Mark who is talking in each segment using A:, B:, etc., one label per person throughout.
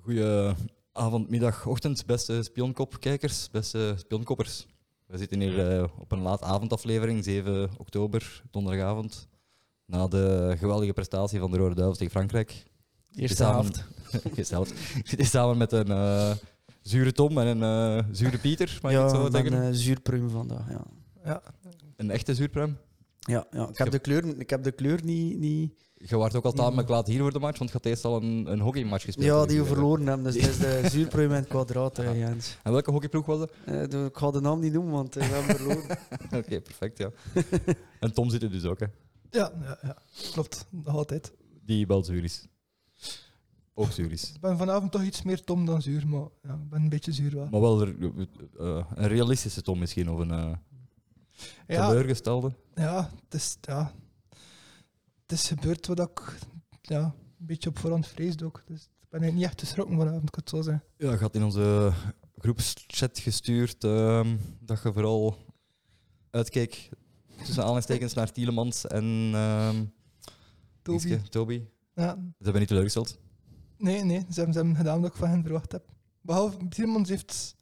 A: Goeie avond, middag, ochtend, beste spionkopkijkers, beste spionkoppers. We zitten hier eh, op een laat avondaflevering, 7 oktober, donderdagavond. Na de geweldige prestatie van de Rode Duivels tegen Frankrijk.
B: Eerste
A: Samen-
B: helft.
A: Jezelf. Ik zit hier samen met een eh, zure Tom en een eh, zure Pieter, mag ik het zo
B: ik ben
A: zeggen?
B: eh zuurpruim vandaag. Ja.
C: Ja,
A: Een echte zuurprem.
B: Ja, ja. Ik, heb de kleur, ik heb de kleur niet. niet
A: Je waart ook al taal met laat hier voor de match, want je had eerst al een, een hockeymatch gespeeld.
B: ja, die we
A: natuurlijk.
B: verloren hebben. Dus het is de zuurpruim en het kwadraat, hè, Jens.
A: En welke hockeyploeg was het?
B: Eh, de- ik ga de naam niet noemen, want eh, we hebben verloren.
A: Oké, perfect, ja. en Tom zit er dus ook, hè.
C: ja, ja, ja. klopt. Nog altijd.
A: Die wel zuur is. Ook zuur is.
C: Ik ben vanavond toch iets meer tom dan zuur, maar ja, ik ben een beetje zuur wel.
A: Maar wel er- eh, een realistische Tom misschien, of een eh,
C: Ja,
A: teleurgestelde.
C: ja, het is, ja, het is gebeurd wat ik ja, een beetje op voorhand vreesde ook. Dus ik ben eigenlijk niet echt geschrokken vanavond, ik kan het zo zeggen.
A: Ja, je had in onze groepschat gestuurd ehm, dat je vooral uitkeek tussen aanhalingstekens naar Tielemans en ehm,
C: Toby.
A: dingske, Toby.
C: Ja,
A: Ze hebben niet teleurgesteld.
C: nee, nee, ze hebben, ze hebben gedaan wat ik van hen verwacht heb. Behalve, Tiermans heeft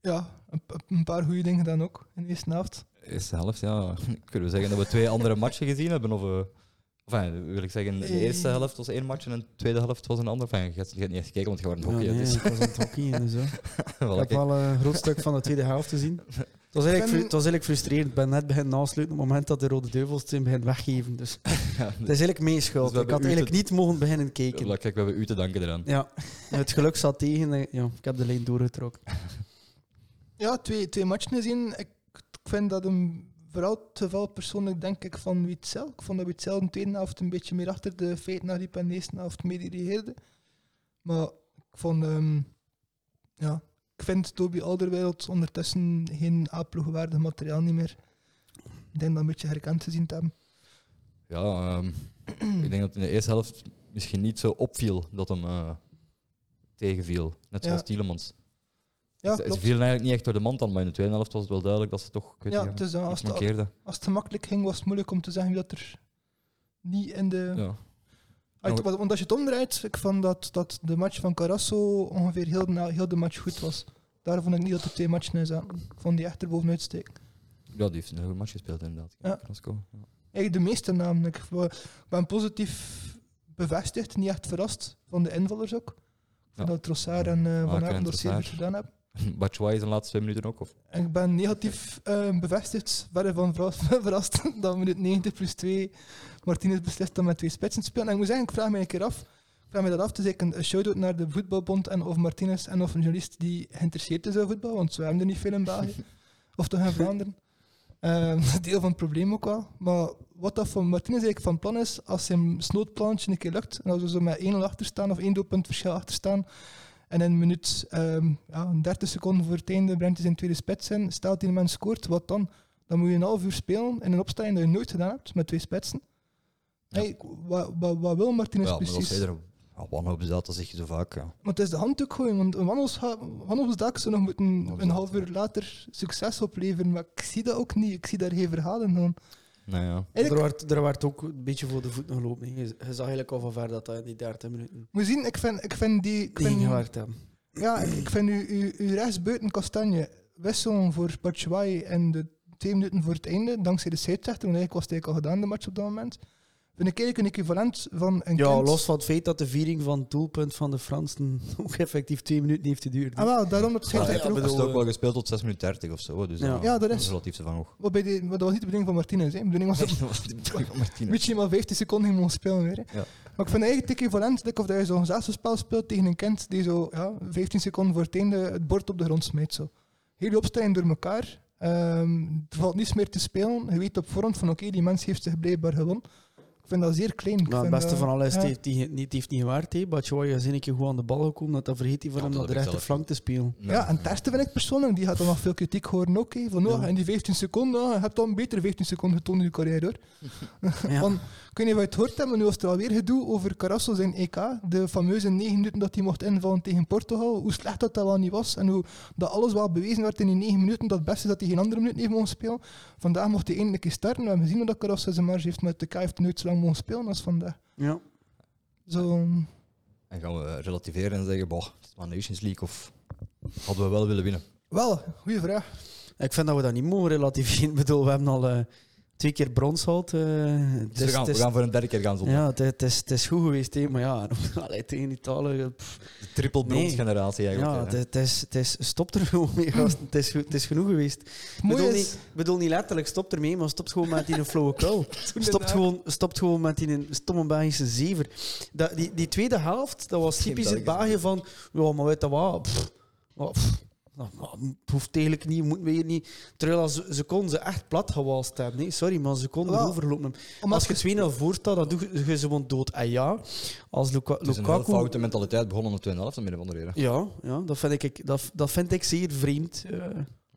C: ja, een, een paar goede dingen gedaan ook in de eerste helft.
A: Eerste helft, ja. Kunnen we zeggen dat we twee andere matchen gezien hebben? Of, eh, enfin, wil ik zeggen,
C: Eh.
A: de eerste helft was één match en de tweede helft was een ander. Enfin, je hebt je hebt niet eens gekeken, want je was in het hockey.
B: Ja, nee,
A: dus-
B: ik was aan het hockeyen en zo.
A: Wel,
B: Ik heb
A: oké.
B: wel een groot stuk van de tweede helft gezien. Het was,
C: Ik
B: eigenlijk,
C: ben-
B: fru- het was eigenlijk frustrerend. Ik ben net beginnen nasluiten op het moment dat de Rode Duivels het begint weggeven. Dus het
A: Ja,
B: is eigenlijk mijn schuld.
A: Dus we
B: ik had
A: hebben u
B: eigenlijk niet mogen beginnen kijken.
A: Voilà, Kijk, we hebben u te danken eraan.
B: Ja, het geluk zat tegen. eh, Ja, ik heb de lijn doorgetrokken.
C: Ja, twee, twee matchen gezien. Ik, ik vind dat hem vooral het geval persoonlijk denk ik van Witzel. Ik vond dat Witzel in de tweede helft een beetje meer achter de feiten naar die en de eerste helft meer dirigeerde. Maar ik vond, ehm, ja, ik vind Toby Alderwereld ondertussen geen A-ploegwaardig materiaal niet meer. Ik denk dat een beetje herkend gezien te hebben.
A: Ja, ehm, ik denk dat in de eerste helft misschien niet zo opviel dat hem eh, tegenviel. Net
C: Ja.
A: zoals Tielemans.
C: Ja,
A: ze, ze
C: klopt.
A: vielen eigenlijk niet echt door de mand aan, maar in de tweede helft was het wel duidelijk dat ze toch ik weet
C: Ja,
A: niet,
C: dus dan als,
A: iets
C: het,
A: mankeerden.
C: als het gemakkelijk ging, was het moeilijk om te zeggen dat er niet in de
A: Ja.
C: Uit,
A: Nou,
C: Ah, want want als je het omdraait, ik vond dat, dat de match van Carrasso ongeveer heel, na, heel de match goed was. Daar vond ik niet dat er twee matchen in zaten. Ik vond die echt er bovenuit steken.
A: ja, die heeft een heel goed match gespeeld inderdaad.
C: Ja.
A: Carrasco, ja.
C: Eigenlijk de meeste namelijk. Ik wa- ben positief bevestigd, niet echt verrast van de invallers ook. Ik vond
A: Ja.
C: dat Trossard en eh, Van
A: Aken en
C: Aken dat zeer
A: Trossard.
C: goed gedaan hebben.
A: Batshuayi zijn laatste twee minuten ook. Of?
C: En ik ben negatief eh, bevestigd, verre van verrast, verrast dat minuut 90 plus 2 Martinez beslist om met twee spitsen te spelen. En ik moet zeggen, ik vraag me een keer af, ik vraag me dat af, dus ik een een shout-out naar de voetbalbond en of Martinez en of een journalist die geïnteresseerd is in voetbal, want we hebben er niet veel in België, of toch in Vlaanderen. Ehm, dat is deel van het probleem ook wel. Maar wat dat van Martinez eigenlijk van plan is, als zijn snoodplantje een keer lukt, en als we zo met 1-0 achter staan of één doelpunt verschil achter staan, en in een minuut, ehm, ja, een 30 seconden voor het einde, brengt hij zijn tweede spits in. Stelt die man scoort, wat dan? Dan moet je een half uur spelen in een opstelling dat je nooit gedaan hebt met twee spitsen.
A: Ja.
C: Hey, wat, wat, wat wil Martinez
A: Ja, maar dat
C: precies?
A: was eerder ja, wanhoop zat, dat zeg je zo vaak. Ja.
C: Want het is de handdoek gooien, want een wanhoopsdak zou nog moeten een
A: Wanhoopsdak,
C: half uur
A: ja.
C: later succes opleveren. Maar ik zie dat ook niet. Ik zie daar geen verhalen van.
A: Nou ja.
B: Er
C: Eigenlijk,
B: werd, er werd ook een beetje voor de voet nog lopen. hè. Je, je zag eigenlijk al van ver dat dat in die 30 minuten
C: moet je zien, ik vind, ik vind die... Ik vind,
B: tegengewerkt hebben.
C: Ja, ik- ik vind u, u, u rechtsbuiten Kastanje wisselen voor Batshuayi en de twee minuten voor het einde, dankzij de scheidsrechter, want eigenlijk was het eigenlijk al gedaan, de match op dat moment, vind ik eigenlijk een equivalent van een
B: Ja,
C: kind...
B: los van het feit dat de viering van het doelpunt van de Fransen ook effectief twee minuten heeft geduurd. hè.
C: Ah, wel, daarom dat de
A: Ja,
C: scheidsrechter
B: ja,
C: ook...
A: Hij heeft
B: bedoel,
A: ook wel gespeeld tot 6 minuten 30 of zo. Dus
B: Ja.
A: ja,
C: Ja, dat is-
A: relatief te van hoog.
C: Wat bij die- wat dat was niet de bedoeling van Martinez, hè. De bedoeling was dat Michi maar 15 seconden ging mogen spelen weer. hè.
A: Ja.
C: Maar ik vind eigenlijk het equivalent like, of dat je zo'n zaadselspel speelt tegen een kind die zo ja, 15 seconden voor het einde het bord op de grond smijt. Zo. Heel die opstelling door elkaar. Ehm, er valt niets meer te spelen. Je weet op voorhand van oké, die mens heeft zich blijkbaar gewonnen. Ik vind dat zeer klein. Ik
B: Maar Nou, het
C: vind
B: beste
C: dat-
B: van alles is,
C: ja.
B: het heeft die- niet, het heeft niet gewaard. hè. Batshuayi is een keer goed aan de bal gekomen. Dat, dat vergeet hij van
A: Ja,
B: hem
A: dat
B: naar de
A: heb ik
B: rechterflank te spelen.
C: Ja, en Terste vind ik persoonlijk, die gaat dan nog veel kritiek horen ook. hè. Van, oh,
B: Ja.
C: In die 15 seconden, ah, je hebt dan beter 15 seconden getoond in je carrière hoor.
B: Ja.
C: Want, ik weet niet of je het hoort hebt, maar nu was er alweer gedoe over Carrasso zijn EK. De fameuze 9 minuten dat hij mocht invallen tegen Portugal. Hoe slecht dat dat wel niet was. En hoe dat alles wel bewezen werd in die 9 minuten. Dat het beste is dat hij geen andere minuut heeft mogen spelen. Vandaag mocht hij eindelijk eens starten. We hebben gezien dat Carrasso zijn marge heeft. Maar de K heeft nooit zo lang mogen spelen als vandaag.
B: Ja.
C: Zo,
A: En gaan we relativeren en zeggen, boh, het is maar Nations League of hadden we wel willen winnen.
C: Wel, goede vraag.
B: Ik vind dat we dat niet mogen relativeren. Ik bedoel, we hebben al eh, twee keer brons gehad. eh, het
A: Dus we,
B: is-
A: gaan,
B: het
A: we
B: is-
A: gaan voor een derde keer gaan zonder.
B: Ja, het, het is, het is goed geweest, hè, maar ja, allee, tegen Italië. pff,
A: De triple
B: Nee.
A: bronsgeneratie eigenlijk.
B: ja,
A: hè.
B: het, het is, het is, stop er gewoon mee, gasten. Het is, goed- het is genoeg geweest. Ik
C: Mooi
B: bedoel,
C: is-
B: niet, ik bedoel niet letterlijk, stop ermee, maar stop gewoon met die flauwe kul. Stop
C: inderdaad.
B: gewoon, stop gewoon met die stomme Belgische zever. Dat, die, die tweede helft, dat was
A: Geen
B: typisch het
A: Belgische
B: België van... Ja, maar weet je wat? Pff, ja, pff, dat hoeft eigenlijk niet, moeten we hier niet... Terwijl als ze, ze kon ze echt plat gewalst hebben. Nee, sorry, maar ze konden
C: Wel,
B: overlopen.
C: Omdat
B: Als je 2-0 voor staat, dan doe je- je ze gewoon dood. En ja, als Luka,
A: Het is een heel
B: Lukaku...
A: foute mentaliteit begonnen in de 2,5 om midden van de reden.
B: Ja, ja dat, vind ik, dat, dat vind ik zeer vreemd. Eh,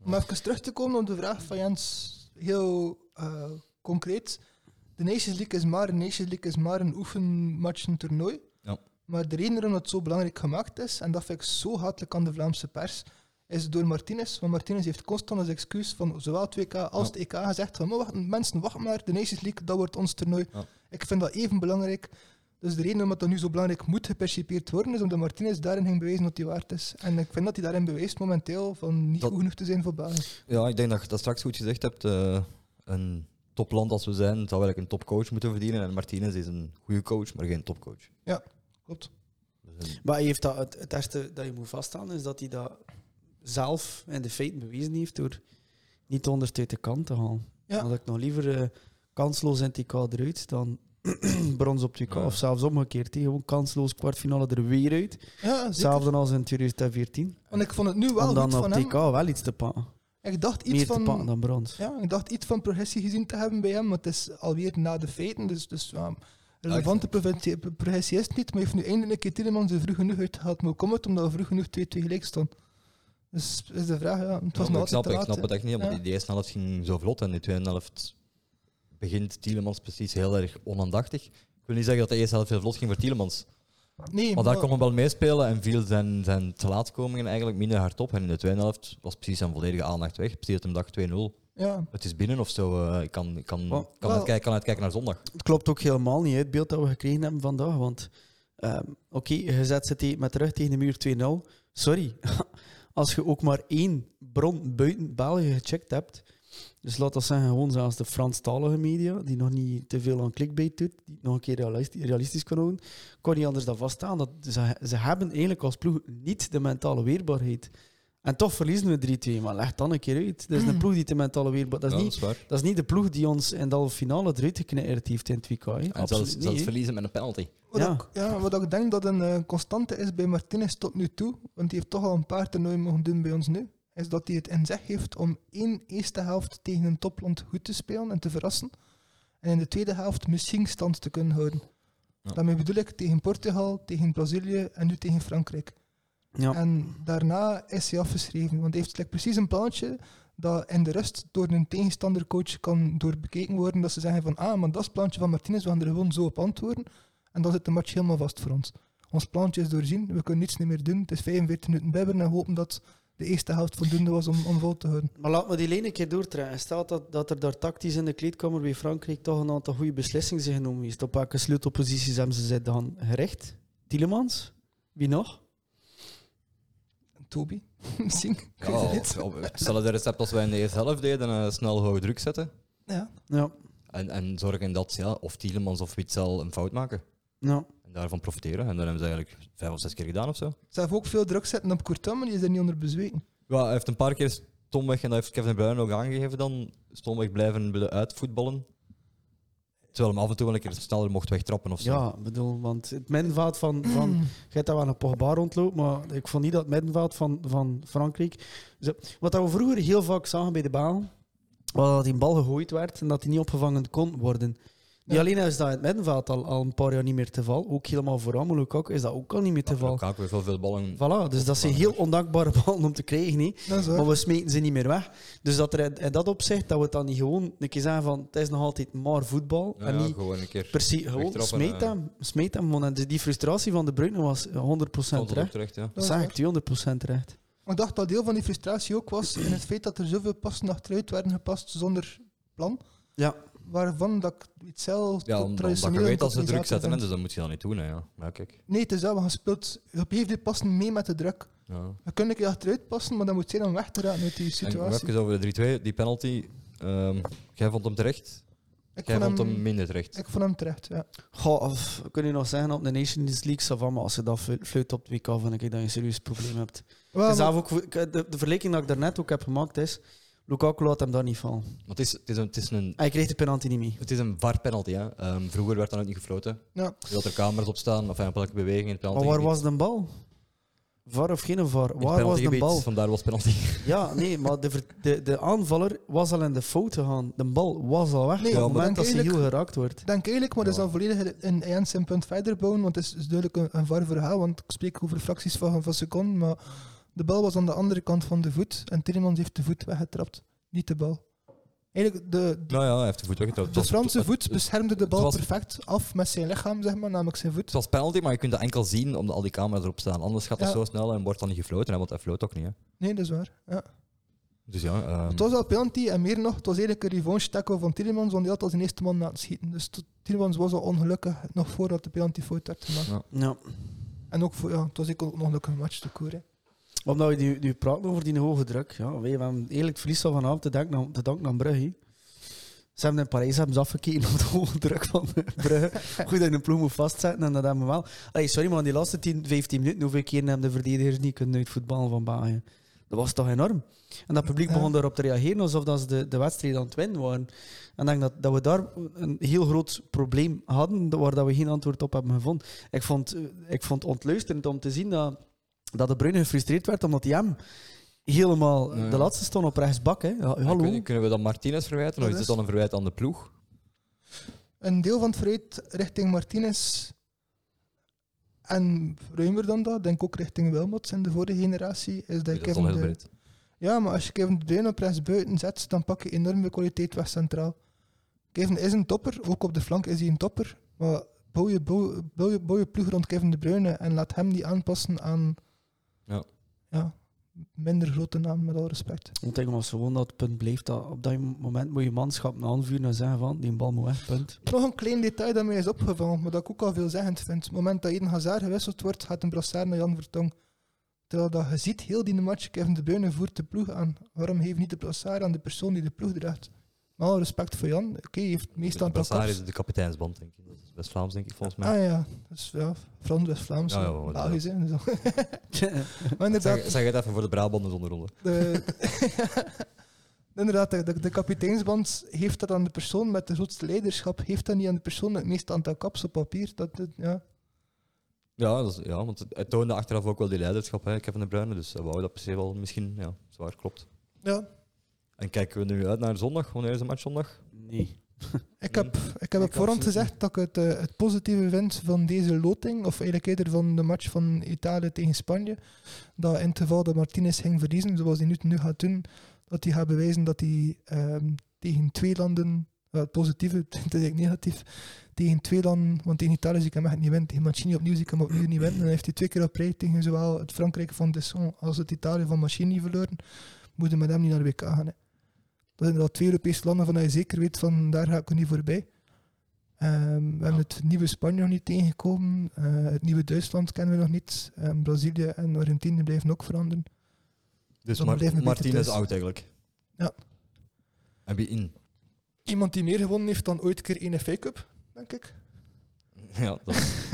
C: Om even terug te komen op de vraag van Jens, heel eh, concreet. De Nations League is maar, een Nations League is maar een oefenmatch, een toernooi.
A: Ja.
C: Maar de reden waarom dat zo belangrijk gemaakt is, en dat vind ik zo hatelijk aan de Vlaamse pers, is door Martinez. Want Martinez heeft constant als excuus van zowel het WK als
A: Ja.
C: het EK gezegd van "Maar wacht, mensen, wacht maar, de Nations League, dat wordt ons toernooi.
A: Ja.
C: Ik vind dat even belangrijk. Dus de reden waarom dat nu zo belangrijk moet gepercipeerd worden, is omdat Martinez daarin ging bewijzen dat hij waard is. En ik vind dat hij daarin bewijst momenteel van niet
A: Dat-
C: goed genoeg te zijn voor België.
A: Ja, ik denk dat je dat straks goed gezegd hebt. eh, een topland als we zijn, zou eigenlijk een topcoach moeten verdienen. En Martinez is een goede coach, maar geen topcoach.
C: Klopt.
A: Dus een-
B: Maar hij heeft dat, het, het eerste dat je moet vaststellen is dat hij dat zelf in de feiten bewezen heeft door niet ondersteunen de kant te halen.
C: Ja.
B: Dat ik nog liever eh, kansloos in het TK eruit dan brons op het TK.
A: Ja.
B: Of zelfs omgekeerd. hè. Gewoon kansloos kwartfinale er weer uit.
C: Ja, zeker.
B: Hetzelfde als in 2014.
C: Want ik vond het nu wel
B: Om dan
C: goed
B: op
C: van
B: het
C: hem.
B: TK wel iets te pakken.
C: Ik dacht iets
B: Meer te pakken
C: van...
B: dan brons.
C: Ja, ik dacht iets van progressie gezien te hebben bij hem, maar het is alweer na de feiten, dus, dus ja, relevante progressie- progressie is het niet, maar heeft nu eindelijk een keer Tielemans er vroeg genoeg uitgehaald. Maar hoe komt het? Omdat we vroeg genoeg 2-2 gelijk stonden. Dus is de vraag, ja, het was
A: Ja, maar
C: nog
A: ik,
C: altijd
A: snap,
C: te
A: ik
C: laat.
A: snap het echt niet, omdat
C: Ja.
A: die eerste helft ging zo vlot en die tweede helft begint Tielemans precies heel erg onaandachtig. Ik wil niet zeggen dat de eerste helft heel vlot ging voor Tielemans,
C: hè. Nee,
A: maar
C: maar-
A: daar kon hem wel meespelen en viel zijn, zijn te laatkomingen eigenlijk minder hard op. En in de tweede helft was precies zijn volledige aandacht weg. Precies dat hem dacht 2-0.
C: ja.
A: Het is binnen of zo. eh, ik kan, ik kan,
B: Wel-
A: kan,
C: wel-
A: uitkijken, kan uitkijken naar zondag.
B: Het klopt ook helemaal niet, hè, het beeld dat we gekregen hebben vandaag. Want ehm, oké, je zet City met de rug tegen de muur 2-0. Sorry, als je ook maar één bron buiten België gecheckt hebt. Dus laat dat zeggen, gewoon zelfs de Franstalige media, die nog niet te veel aan clickbait doet, die het nog een keer realistisch, realistisch kan houden, kon niet anders dan vaststaan dat ze, ze hebben eigenlijk als ploeg niet de mentale weerbaarheid. En toch verliezen we 3-2, maar leg dan een keer uit. Dat is een ploeg die de mentale weerbaarheid... Dat is
A: Ja,
B: niet
A: dat is waar.
B: dat is niet de ploeg die ons in de halve finale eruit geknikkerd heeft in het WK. hè.
A: En zelfs,
B: Absoluut
A: zelfs
B: niet. hè.
A: verliezen met een penalty.
C: Wat,
B: Ja.
C: Ik, ja, wat ik denk dat een eh, constante is bij Martinez tot nu toe, want die heeft toch al een paar toernooien mogen doen bij ons nu, is dat hij het in zich heeft om één eerste helft tegen een topland goed te spelen en te verrassen. En in de tweede helft misschien stand te kunnen houden.
A: Ja.
C: Daarmee bedoel ik tegen Portugal, tegen Brazilië en nu tegen Frankrijk.
B: Ja.
C: En daarna is hij afgeschreven, want hij heeft like, precies een plannetje dat in de rust door een tegenstandercoach kan doorbekeken worden. Dat ze zeggen van, ah, maar dat is het plannetje van Martinez, we gaan er gewoon zo op antwoorden. En dan zit de match helemaal vast voor ons. Ons plannetje is doorzien, we kunnen niets meer doen. Het is 45 minuten bibberen en hopen dat de eerste helft voldoende was om, om vol te houden.
B: Maar laat me die lijn een keer doortrekken. Stel dat, dat er daar tactisch in de kleedkamer bij Frankrijk toch een aantal goede beslissingen zijn genomen. geweest. Op welke sleutelposities hebben ze zich dan gericht? Tielemans? Wie nog?
C: Toby, misschien. Ik weet
A: Ja,
C: het niet.
A: op- op- hetzelfde recept als wij in de eerste helft deden. eh, snel hoog druk zetten.
C: Ja.
B: Ja.
A: En, en zorgen dat ja, of Tielemans of Witzel een fout maken.
B: ja.
A: En daarvan profiteren. En dat hebben ze eigenlijk vijf of zes keer gedaan of zo.
C: Ze hebben ook veel druk zetten op Courtois, maar die is er niet onder bezweken.
A: Ja, hij heeft een paar keer stomweg, en dat heeft Kevin De Bruyne ook aangegeven dan, stomweg blijven willen uitvoetballen. Terwijl hem af en toe wel een keer sneller mocht wegtrappen of zo. Mm.
B: Ja, ik bedoel, want het middenveld van, van je hebt daar wel een Pogba rondloopt, maar ik vond niet dat het middenveld van, van Frankrijk... Zo- Wat dat we vroeger heel vaak zagen bij de baan, was dat die bal gegooid werd en dat die niet opgevangen kon worden. Niet
C: Ja.
B: alleen is dat in het middenveld al, al een paar jaar niet meer te val, ook helemaal vooraan, maar Lukaku is dat ook al niet meer te val.
A: ook weer veel, veel ballen.
B: Voilà, dus dat zijn heel ondankbare ballen om te krijgen. hè.
C: Dat is waar.
B: Maar we smeten ze niet meer weg. Dus dat er in, in dat opzicht, dat we het dan niet gewoon een keer zeggen van het is nog altijd maar voetbal
A: Ja,
B: en
A: ja,
B: niet
A: gewoon een keer.
B: Precies, gewoon
A: Wegtrappen,
B: smeet
A: eh.
B: hem. Smeet hem gewoon. En die die frustratie van de Bruyne was 100%
A: Stond er ook
B: recht.
A: terecht, ja.
B: Dat
C: is
B: zag
C: waar.
B: ik 200% recht.
C: Maar Ik dacht dat deel van die frustratie ook was in het feit dat er zoveel passen achteruit werden gepast zonder plan.
B: Ja.
C: waarvan dat ik iets zelf
A: Ja,
C: tot
A: om- omdat je
C: traditionele
A: weet dat ze druk
C: organisatie
A: zetten, hè,
C: vind.
A: dus dat moet je dan niet doen. Hè, ja. ja, kijk.
C: Nee, het is dat, we gaan speelt. Op heeft passen mee met de druk.
A: Ja.
C: We kunnen een keer achteruit passen, maar dat moet zijn om weg te raken uit die
A: En nog
C: situatie.
A: even over de 3-2, die penalty. ehm, jij vond hem terecht,
C: Ik
A: jij
C: vond,
A: vond hem
C: hem,
A: minder terecht.
C: ik vond hem terecht, ja.
B: Goh, of, kun je nog zeggen op de Nations League, ça va, maar als je dat flu- fluit op het WK, vind ik dat je een serieus probleem hebt.
C: Wel,
B: Zelf ook, ik- de, de vergelijking dat ik daarnet ook heb gemaakt is, Lukaku laat hem daar niet vallen.
A: Maar het is, het is een, het is een,
B: Hij kreeg de penalty niet mee.
A: het is een var penalty. Hè. Ehm, vroeger werd dat ook niet gefloten.
C: Ja.
A: Je had er camera's op staan, of op elke beweging in het penalty.
B: Maar waar was de bal? Var of geen var? Waar was de bal?
A: Vandaar was penalty.
B: Ja, nee, maar de, ver- de, de aanvaller was al in de fout gegaan. De bal was al weg
C: Nee,
B: op
C: ja,
B: het
C: maar
B: moment dat ze heel
C: eigenlijk-
B: geraakt wordt.
C: Ik denk eigenlijk, maar dat is
A: Ja.
C: al volledig een ENS een punt verder bouwen, want het is dus duidelijk een, een var verhaal, want ik spreek over fracties van, van seconden, maar de bal was aan de andere kant van de voet en Timmermans heeft de voet weggetrapt, niet de bal. Eigenlijk, de,
A: nou ja, hij heeft de voet weggetrapt.
C: de
A: Het was-
C: Franse
A: het-
C: voet beschermde de bal
A: het was-
C: perfect af met zijn lichaam, zeg maar, namelijk zijn voet.
A: Het was penalty, maar je kunt dat enkel zien omdat al die camera's erop staan. Anders gaat het
C: Ja.
A: zo snel en wordt dan niet gefloten, hè, want hij floot ook niet. Hè.
C: Nee, dat is waar. Ja.
A: Dus ja, ehm,
C: Het was al penalty en meer nog, het was eigenlijk een revanche tackle van Timmermans, want die had als een eerste man laten schieten. Dus t- Timmermans was al ongelukkig, nog voordat de penalty fout werd gemaakt.
B: Ja.
C: En ook, voor, ja, het was ook een ongelukkige match te koeren.
B: Omdat we nu, nu praten over die hoge druk. Ja, wij hebben eigenlijk verlies al vanavond te danken aan, te danken aan Brugge. Ze hebben in Parijs hebben ze afgekeken op de hoge druk van Brugge. Goed dat je een ploeg moet vastzetten en dat hebben we wel. Allee, sorry, maar in die laatste 10, 15 minuten, hoeveel keer hebben de verdedigers niet kunnen uit voetballen van België? Dat was toch enorm? En dat publiek
C: Ja.
B: begon daarop te reageren alsof dat ze de, de wedstrijd aan het winnen waren. En ik denk dat, dat we daar een heel groot probleem hadden, waar dat we geen antwoord op hebben gevonden. Ik vond, eh, ik vond het ontluisterend om te zien dat, dat de Bruyne gefrustreerd werd, omdat hij hem helemaal...
A: Ja, ja.
B: De laatste stond op rechtsbak, hè. Ja, Hallo.
A: Kunnen, kunnen we dan Martinez verwijten of is het dan een verwijt aan de ploeg?
C: een deel van het fruit richting Martinez. En ruimer dan dat, denk ook richting Wilmots in de vorige generatie. Is dat
A: Nee, dat is
C: Kevin
A: al heel
C: de-
A: breed.
C: Ja, maar als je Kevin de Bruyne op rechts buiten zet, dan pak je enorm veel kwaliteit weg centraal. Kevin is een topper, ook op de flank is hij een topper. Maar bouw je, bouw, bouw je, bouw je ploeg rond Kevin de Bruyne en laat hem die aanpassen aan
A: Ja.
C: Ja, minder grote naam, met al respect.
B: Want ik was gewoon dat het punt blijft dat op dat moment moet je manschap aanvuren en zeggen van die bal moet weg, punt.
C: Nog een klein detail dat mij is opgevallen, maar dat ik ook al veelzeggend vind. Op het moment dat Eden Hazard gewisseld wordt, gaat een Brassard naar Jan Vertong. Terwijl dat je ziet, heel die match, Kevin De Bruyne voert de ploeg aan. Waarom geeft niet de Brassard aan de persoon die de ploeg draagt? Met alle respect voor Jan, oké, hij heeft meestal een paar
A: Brassard
C: kaps.
A: is de kapiteinsband, denk ik. Dat is best Vlaams, denk ik, volgens mij.
C: Ah ja, dus ja, Frans is Vlaams,
A: Ja, ja,
C: ja,
A: wat-
C: Belgisch. hè, dus- maar
A: Zeg,
C: inderdaad,
A: zeg het even voor de Brabanders onder ronde.
C: de, inderdaad, de, de- de kapiteinsband heeft dat aan de persoon met de grootste leiderschap, heeft dat niet aan de persoon met het meeste aantal kaps op papier. Dat, dat- ja.
A: Ja, dat is, ja, want het- het toonde achteraf ook wel die leiderschap, hè, Kevin de Bruyne. Dus eh, wou dat per se wel misschien, ja, zwaar klopt.
C: ja,
A: En kijken we nu uit naar zondag? Wanneer is de match zondag?
B: Nee.
C: Ik
A: Nee.
C: heb, ik heb op
A: Ik
C: voorhand
A: absoluut
C: gezegd dat ik het, eh, het positieve vind van deze loting, of eigenlijk eerder van de match van Italië tegen Spanje, dat in het geval dat Martinez ging verliezen, zoals hij nu, nu gaat doen, dat hij gaat bewijzen dat hij ehm, tegen twee landen, eh, het positieve, het is eigenlijk negatief, tegen twee landen, want tegen Italië zie ik hem echt niet winnen, tegen Mancini opnieuw zie ik hem opnieuw niet winnen, dan heeft hij twee keer op rij tegen zowel het Frankrijk van Desson als het Italië van Mancini verloren, moeten met hem niet naar de WK gaan. hè. Dat zijn al twee Europese landen van dat je zeker weet van daar ga ik er niet voorbij. Ehm, we hebben het nieuwe Spanje nog niet tegengekomen. eh, het nieuwe Duitsland kennen we nog niet. Ehm, Brazilië en Argentinië blijven ook veranderen.
A: Dus
C: Dan
A: Mar-
C: blijven we beter
A: Martinez
C: thuis.
A: oud eigenlijk.
C: Ja.
A: En wie in?
C: Iemand die meer gewonnen heeft dan ooit een keer een FA Cup, denk ik.
A: Ja, dat is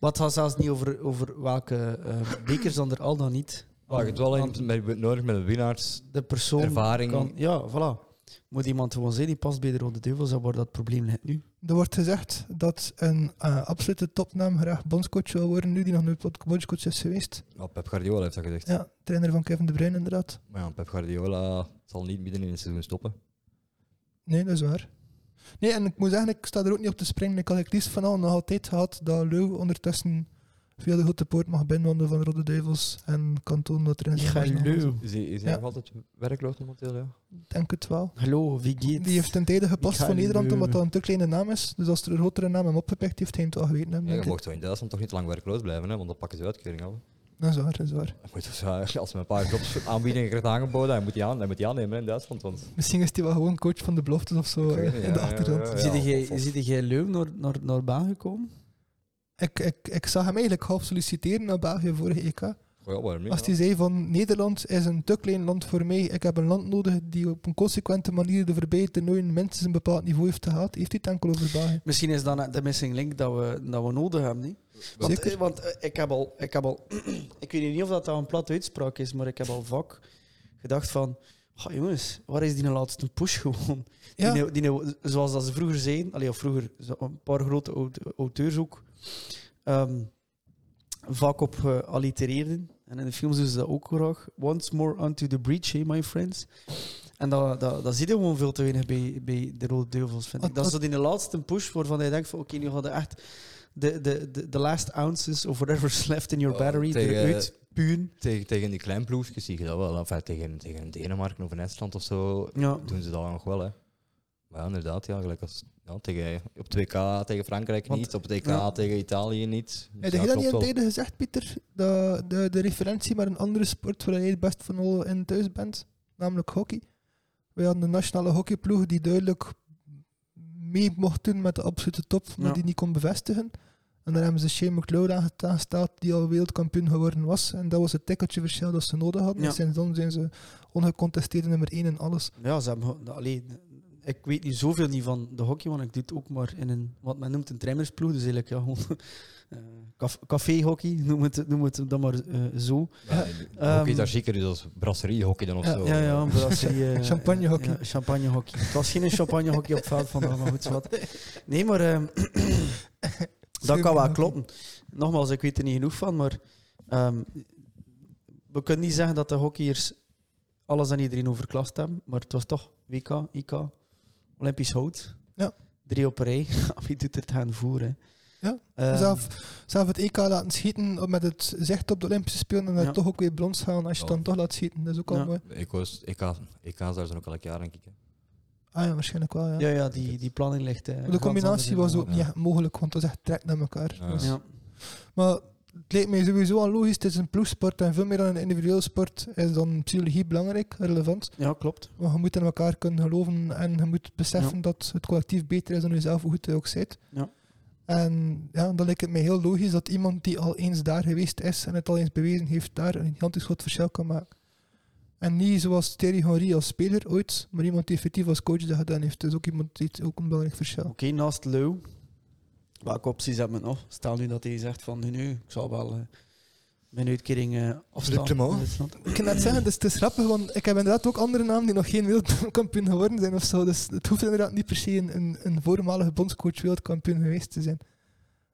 B: Maar het gaat zelfs niet over, over welke eh, bekers dan er al dan niet.
A: waar. Het is wel
B: Want
A: een, met, nodig met een winnaars.
B: De persoon
A: Ervaring.
B: kan... Ja, voilà. Moet iemand gewoon zijn die past bij de Rode Duivels, dan wordt dat probleem net nu.
C: Er wordt gezegd dat een eh, absolute topnaam graag bondscoach wil worden, nu die nog nooit bod- bondscoach is geweest.
A: Ja, Pep Guardiola heeft dat gezegd.
C: Ja, trainer van Kevin De Bruyne inderdaad.
A: Maar ja, Pep Guardiola zal niet midden in het seizoen stoppen.
C: Nee, dat is waar. Nee, en ik moet zeggen, ik sta er ook niet op te springen. Ik had het liefst van al nog altijd gehad dat Leu ondertussen via de Grote Poort mag binnenwandelen van Rode Duivels en Kantoon dat er in zijn match nog was.
A: Is hij, is hij
C: Ja.
A: nog altijd werkloos momenteel? Ja?
C: Denk het wel.
B: Hallo, wie gaat?
C: Die heeft ten tijde gepast
B: ga
C: voor Nederland,
B: nu-
C: omdat dat een te kleine naam is. Dus als er een grotere naam hem opgepikt heeft, heeft hij het al geweten. hebben,
A: Ja,
C: denk
A: je
C: ik.
A: mocht wel in Duitsland toch niet lang werkloos blijven, hè, want dan pakken ze uitkering af.
C: Dat is waar, dat is waar.
A: Dat moet dus, eh, als mijn paar jobs aanbiedingen krijgt aangeboden, dan moet hij aan, dan moet hij aannemen hè, in Duitsland. Want
C: Misschien is hij wel gewoon coach van de beloftes of zo
A: Ik weet
C: eh,
A: niet,
C: in de
A: ja, ja,
C: achtergrond.
A: ja, ja.
B: Zie jij-
A: of- of-
B: Zie jij Leuven naar, naar, naar Baan gekomen?
C: Ik, ik, ik zag hem eigenlijk half solliciteren naar België vorige EK.
A: oh ja, waarom niet?
C: Als hij zei van Nederland is een te klein land voor mij, ik heb een land nodig die op een consequente manier de voorbije toernooien minstens een bepaald niveau heeft gehad, heeft hij het enkel over België.
B: Misschien is dat de missing link dat we, dat we nodig hebben. Niet? Want,
C: Zeker.
B: eh, want eh, ik heb al, ik heb al, ik weet niet of dat een platte uitspraak is, maar ik heb al vaak gedacht van, "Goh, jongens, waar is die laatste push gewoon?
C: Ja,
B: Die, die, zoals dat ze vroeger zeiden, allee, of vroeger zo- een paar grote aut- auteurs ook, ehm, vaak op eh, allitereerden. En in de films doen ze dat ook graag. Once more onto the breach, hey, my friends. En dat, dat, dat zie je gewoon veel te weinig bij, bij de Rode Duivels, vind ik.
C: Wat-
B: Dat is
C: wat-
B: dat in de laatste push waarvan je denkt van oké, nu hadden echt de, de, de, de last ounces of whatever's left in your
A: Oh,
B: battery
A: tegen-
B: eruit puun.
A: Tegen, tegen die kleinploegjes zie je dat wel. Enfin, tegen, tegen Denemarken of een Estland of zo
B: Ja.
A: doen ze dat nog wel. Hè. Maar ja, inderdaad, ja, gelijk als, ja, tegen, op 2K tegen Frankrijk
B: Want-
A: niet, op het EK
B: ja.
A: tegen Italië niet. Dus
C: heb je
A: ja,
C: dat niet
A: klopt
C: aan
A: wel.
C: tijden gezegd, Pieter? Dat de, de referentie maar een andere sport waar jij het best van al in thuis bent, namelijk hockey. We hadden de nationale hockeyploeg die duidelijk mee mocht doen met de absolute top, maar
B: Ja.
C: die niet kon bevestigen. En daar hebben ze Shane McLeod aange- aangesteld, die al wereldkampioen geworden was. En dat was het tikkeltje verschil dat ze nodig hadden.
B: Ja.
C: En sindsdien zijn ze ongecontesteerde nummer 1 in alles.
B: Ja, ze hebben, ge- allee, ik weet niet zoveel niet van de hockey, want ik doe het ook maar in een, wat men noemt een trainersploeg. Dus eigenlijk, ja, gewoon eh, caf- café-hockey, noem het, noem het dan maar eh, zo.
A: Ja, hockey is daar zeker dus als brasseriehockey dan of
C: Ja,
A: zo.
B: Ja, ja, maar als die, eh,
C: Champagnehockey.
B: ja, champagnehockey. Het was geen champagnehockey op het veld vandaag, maar goed, wat. Nee, maar ehm, dat kan wel
C: Champagnehockey.
B: kloppen. Nogmaals, ik weet er niet genoeg van, maar ehm, we kunnen niet zeggen dat de hockeyers alles aan iedereen overklast hebben, maar het was toch WK, IK, Olympisch hout.
C: Ja.
B: Drie op een rij. Wie doet het gaan voeren? Ehm,
C: Ja, Zelf, zelf het EK laten schieten met het zicht op de Olympische Spelen en daar
B: Ja.
C: toch ook weer brons halen als je het
A: Ja.
C: dan toch laat schieten. Dat is ook al
B: Ja.
C: mooi.
A: Ik was, EK, EK's daar zijn ook elk jaar, denk ik. hè.
C: Ah ja, waarschijnlijk wel. Ja.
B: Ja, ja, die, die planning ligt... eh,
C: Maar de
B: gans
C: combinatie
B: anders
C: was
B: in
C: ook
A: ja.
C: niet echt mogelijk, want het was echt trek naar elkaar.
A: Ja.
C: Dus-
B: de hand.
C: Maar het lijkt mij sowieso al logisch, het is een ploegsport en veel meer dan een individueel sport is dan psychologie belangrijk, relevant.
B: Ja, ja, klopt.
C: Want je moet in elkaar kunnen geloven en je moet beseffen dat het collectief beter is dan jezelf, hoe goed je ook zit.
B: Ja.
C: En ja, dan lijkt het mij heel logisch dat iemand die al eens daar geweest is en het al eens bewezen heeft, daar een gigantisch groot verschil kan maken. En niet zoals Thierry Henry als speler ooit, maar iemand die effectief als coach dat gedaan heeft. Dus ook iemand die het- ook een belangrijk
B: Oké,
C: verschil.
B: naast Leu, welke opties hebben we nog? Stel nu dat hij zegt van, nu, nu ik zal wel eh, mijn uitkering eh afstaan.
A: Clément?
B: in Duitsland.
C: Ik kan net zeggen, dus het is grappig, want ik heb inderdaad ook andere namen die nog geen wereldkampioen geworden zijn of zo. Dus het hoeft inderdaad niet per se een, een, een voormalige bondscoach wereldkampioen geweest te zijn.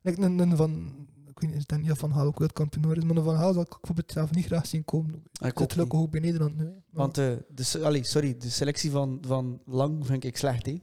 C: Like een, een van, ik weet niet, ik denk niet of Van Gaal ook wereldkampioen geworden is, maar een Van Haal zal ik bijvoorbeeld zelf niet graag zien komen.
B: Ik
C: Dat
B: ook
C: lukt
B: niet.
C: ook bij Nederland nu. hè. Maar
B: Want eh, de, se- allee, sorry, de selectie van, van Lang vind ik slecht, hè?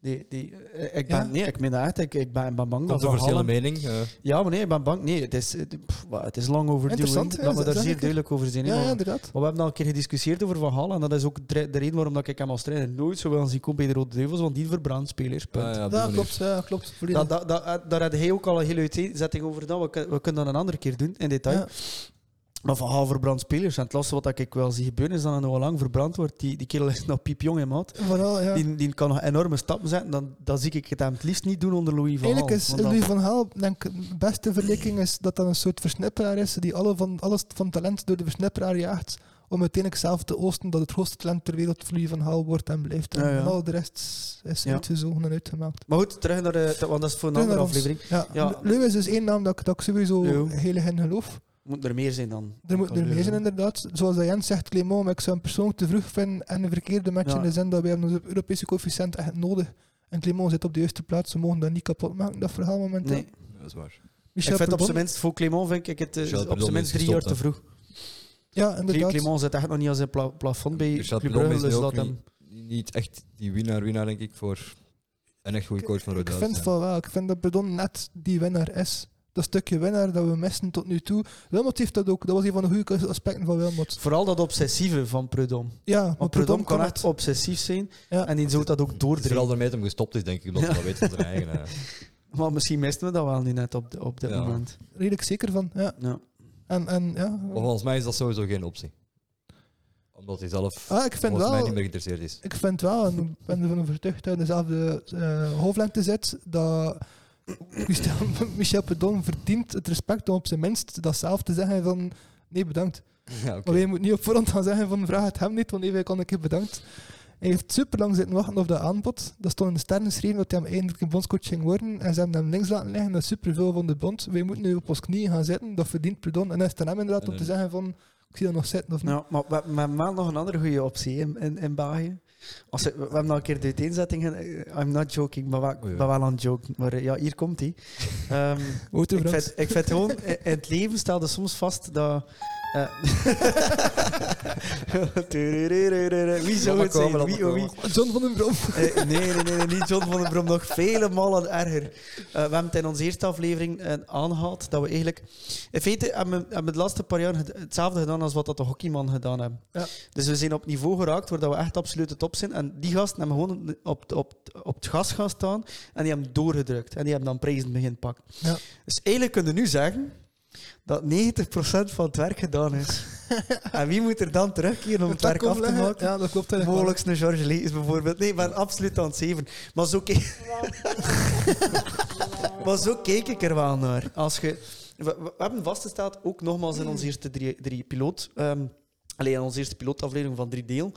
B: Die, die, eh, ik ben,
C: Ja?
B: Nee, ik meen dat echt. Ik, ik ben, ik ben bang dat Van
A: Controversiële
B: Halen-
A: mening. eh,
B: Ja, maar nee, ik ben bang. Nee, het is, eh, pff, wa- het is lang overdue.
C: Interessant,
B: hè,
C: ja,
B: Dat we
C: dat-
B: daar
C: dat
B: zeer
C: ik-
B: duidelijk over zijn. hè,
C: ja,
B: maar-
C: ja, inderdaad.
B: Maar we hebben al een keer gediscussieerd over Van Gaal. En dat is ook de de reden waarom dat ik hem als trainer nooit zou willen zien komen bij de Rode Duivels. Want die verbrandt spelers. Punt.
A: ah, ja,
C: Ja,
A: op die manier.
C: klopt. Ja, klopt volledig.
B: Dat, dat, dat, daar had hij ook al een hele uitzetting over gedaan. We, kun- we kunnen dat een andere keer doen, in detail.
C: Ja.
B: Maar van Gaal verbrand spelers. En het laatste wat ik wel zie gebeuren is dat hij nog lang verbrand wordt. Die, die kerel is nog piepjong en maat.
C: Vooral, ja.
B: Die, die kan nog enorme stappen zetten. Dan, dan zie ik het hem het liefst niet doen onder Louis van Gaal.
C: Eigenlijk is
B: Want dan-
C: Louis van Gaal, denk ik, de beste verlikking is dat dat een soort versnipperaar is die alle van, alles van talent door de versnipperaar jaagt om uiteindelijk zelf te oosten dat het grootste talent ter wereld voor Louis van Gaal wordt en blijft. En,
B: Ja, ja.
C: al de rest is
B: Ja.
C: uitgezogen en uitgemaakt.
B: Maar goed, terug naar de... Want dat is voor een
C: Terug
B: andere
C: naar
B: aflevering.
C: ons. Ja.
B: Ja.
C: Louis is dus één naam dat ik, dat ik sowieso
B: Leeuw.
C: heel erg in geloof.
B: Moet er meer zijn dan.
C: Er moet er meer zijn inderdaad. Zoals dat Jens zegt, Clément, maar ik zou hem persoonlijk te vroeg vinden en een verkeerde match
B: Ja.
C: in de zin dat wij hebben onze Europese coëfficiënt echt nodig. En Clément zit op de juiste plaats, we mogen dat niet kapot maken, dat verhaal momenteel.
B: Nee.
A: Dat is waar.
B: Ik vind het op
C: Perdon-
B: zijn minst, voor Clément vind ik het eh,
A: Michel
B: op
A: Perdon
B: zijn minst
A: is
B: drie jaar te
A: gestopt,
B: vroeg.
C: Ja, inderdaad.
B: Clément zit echt nog niet aan zijn pla- plafond bij
A: Richard
B: Club
A: Perdom
B: Brugge.
A: is nu
B: Dus
A: ook
B: dat hem...
A: niet, niet echt die winnaar-winnaar, denk ik, voor een echt goede coach van Rode
C: Ik
A: Duivels,
C: vind
A: ja.
C: van wel. Ik vind dat Bredon net die winnaar is. Dat stukje winnaar dat we missen tot nu toe. Wilmot heeft dat ook. Dat was een van de goede aspecten van Wilmot.
B: Vooral dat obsessieve van Prudhomme.
C: Ja, maar
B: Want Prudhomme
C: Bredon
B: kan
C: kan
B: echt
C: het.
B: obsessief zijn
C: Ja.
B: en die zou dat ook
A: Het is vooral
B: doordringen.
A: daarmee dat hem gestopt is, denk ik, omdat hij dat weet van zijn eigen. eh.
B: Maar misschien misten we dat wel nu net op, de- op dit
A: Ja.
B: moment.
C: Redelijk zeker van. Ja.
B: Ja.
C: En, en ja...
A: Maar volgens mij is dat sowieso geen optie. Omdat hij zelf
C: Ah, ik vind
A: volgens mij
C: wel...
A: niet meer geïnteresseerd is.
C: Ik vind wel, en ik ben ervan overtuigd dat hij dezelfde eh, hoofdlengte zit, dat Michel- Michel Pedon verdient het respect om op zijn minst dat zelf te zeggen van nee, bedankt.
A: Ja, oké.
C: Maar je moet niet op voorhand gaan zeggen van vraag het hem niet, want even kan ik je bedankt. Hij heeft super lang zitten wachten op dat aanbod. Dat stond in de sterren geschreven dat hij hem eindelijk een bondscoach ging worden. En ze hebben hem links laten liggen met superveel van de bond. Wij moeten nu op ons knieën gaan zitten, dat verdient Pedon. En hij is aan hem inderdaad om te zeggen van ik zie dat nog zitten of niet.
B: Ja, maar we, we hebben wel nog een andere goede optie in, in, in België. Als we, we hebben nog een keer de uiteenzetting. gedaan. Eh, I'm not joking, maar ik
A: Oh ja.
B: ben wel aan het joken. Maar eh, ja, hier komt hij. Ehm,
C: Wouter
B: ik,
C: Frans.
B: vind, ik vind gewoon, eh, in het leven stelde soms vast dat. eh, Wie zou het zijn? Wie, oh, wie?
C: John van den Brom.
B: Eh, nee, nee, nee, nee, niet John van den Brom. Nog vele malen erger. Eh, we hebben het in onze eerste aflevering eh, aangehaald dat we eigenlijk... In feite hebben we, hebben we de laatste paar jaar het- hetzelfde gedaan als wat dat de hockeyman gedaan hebben.
C: Ja.
B: Dus we zijn op niveau geraakt waar dat we echt absoluut de top zijn. En die gasten hebben gewoon op, op, op het gas gaan staan en die hebben doorgedrukt. En die hebben dan prijzen begin pakken.
C: Ja.
B: Dus eigenlijk kunnen we nu zeggen dat 90% van het werk gedaan is. en wie moet er dan terugkeren om het werk af te maken?
C: Ja, dat klopt eigenlijk. wel.
B: Mogelijks een George Lee is bijvoorbeeld. Nee, ik ben absoluut aan het zeven. Maar zo, ke- maar zo keek ik er wel naar. Als je, we, we hebben vastgesteld, ook nogmaals in onze eerste drie, drie piloot... ehm, alleen in onze eerste pilootaflevering van drie deel...